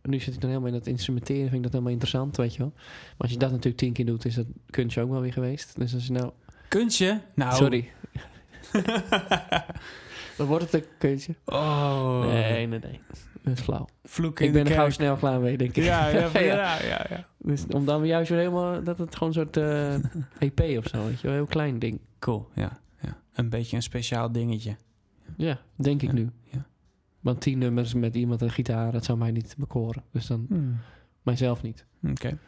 nu zit ik dan helemaal in dat instrumenteren, vind ik dat helemaal interessant, weet je wel. Maar als je dat natuurlijk tien keer doet, is dat kunstje ook wel weer geweest. Dus als je nou...
Kuntje? Nou.
Sorry, dan wordt het een kunstje.
oh.
Nee, nee, nee. Dat is flauw.
Vloek in
Ik ben
de
er gauw
kerk.
snel klaar mee, denk ik.
Ja, ja, ja, ja, ja, ja.
Dus om dan weer juist weer helemaal... Dat het gewoon een soort eh, EP of zo, weet je wel. Een heel klein ding.
Cool, ja, ja. Een beetje een speciaal dingetje.
Ja, denk ik
Ja,
nu.
ja.
Want tien nummers met iemand een gitaar, dat zou mij Hmm. niet bekoren. Dus dan mijzelf niet.
Oké.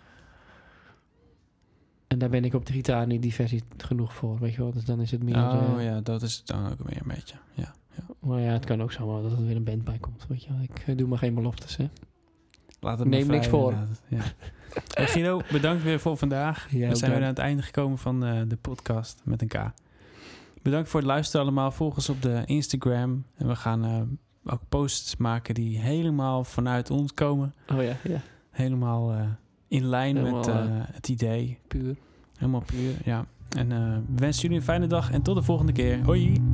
En daar ben ik op de gitaar niet divers genoeg voor, weet je wel. Dus dan is het meer...
oh
eh,
ja, dat is het dan ook weer een beetje. Ja.
Maar ja, het kan ook zomaar dat er weer een band bij komt, weet je wel. Ik eh, doe maar geen beloftes, hè.
Laat het maar
Neem niks
vrij,
voor.
inderdaad. Ja. Hey, Guido, bedankt weer voor vandaag.
Ja,
we zijn weer aan het einde gekomen van eh, de podcast met een K. Bedankt voor het luisteren allemaal. Volg ons op de Instagram. En we gaan eh, ook posts maken die helemaal vanuit ons komen.
Oh ja, ja.
Helemaal eh, in lijn met
Helemaal,
eh, het idee.
Puur.
Helemaal puur, ja. En eh, we wensen jullie een fijne dag en tot de volgende keer. Hoi!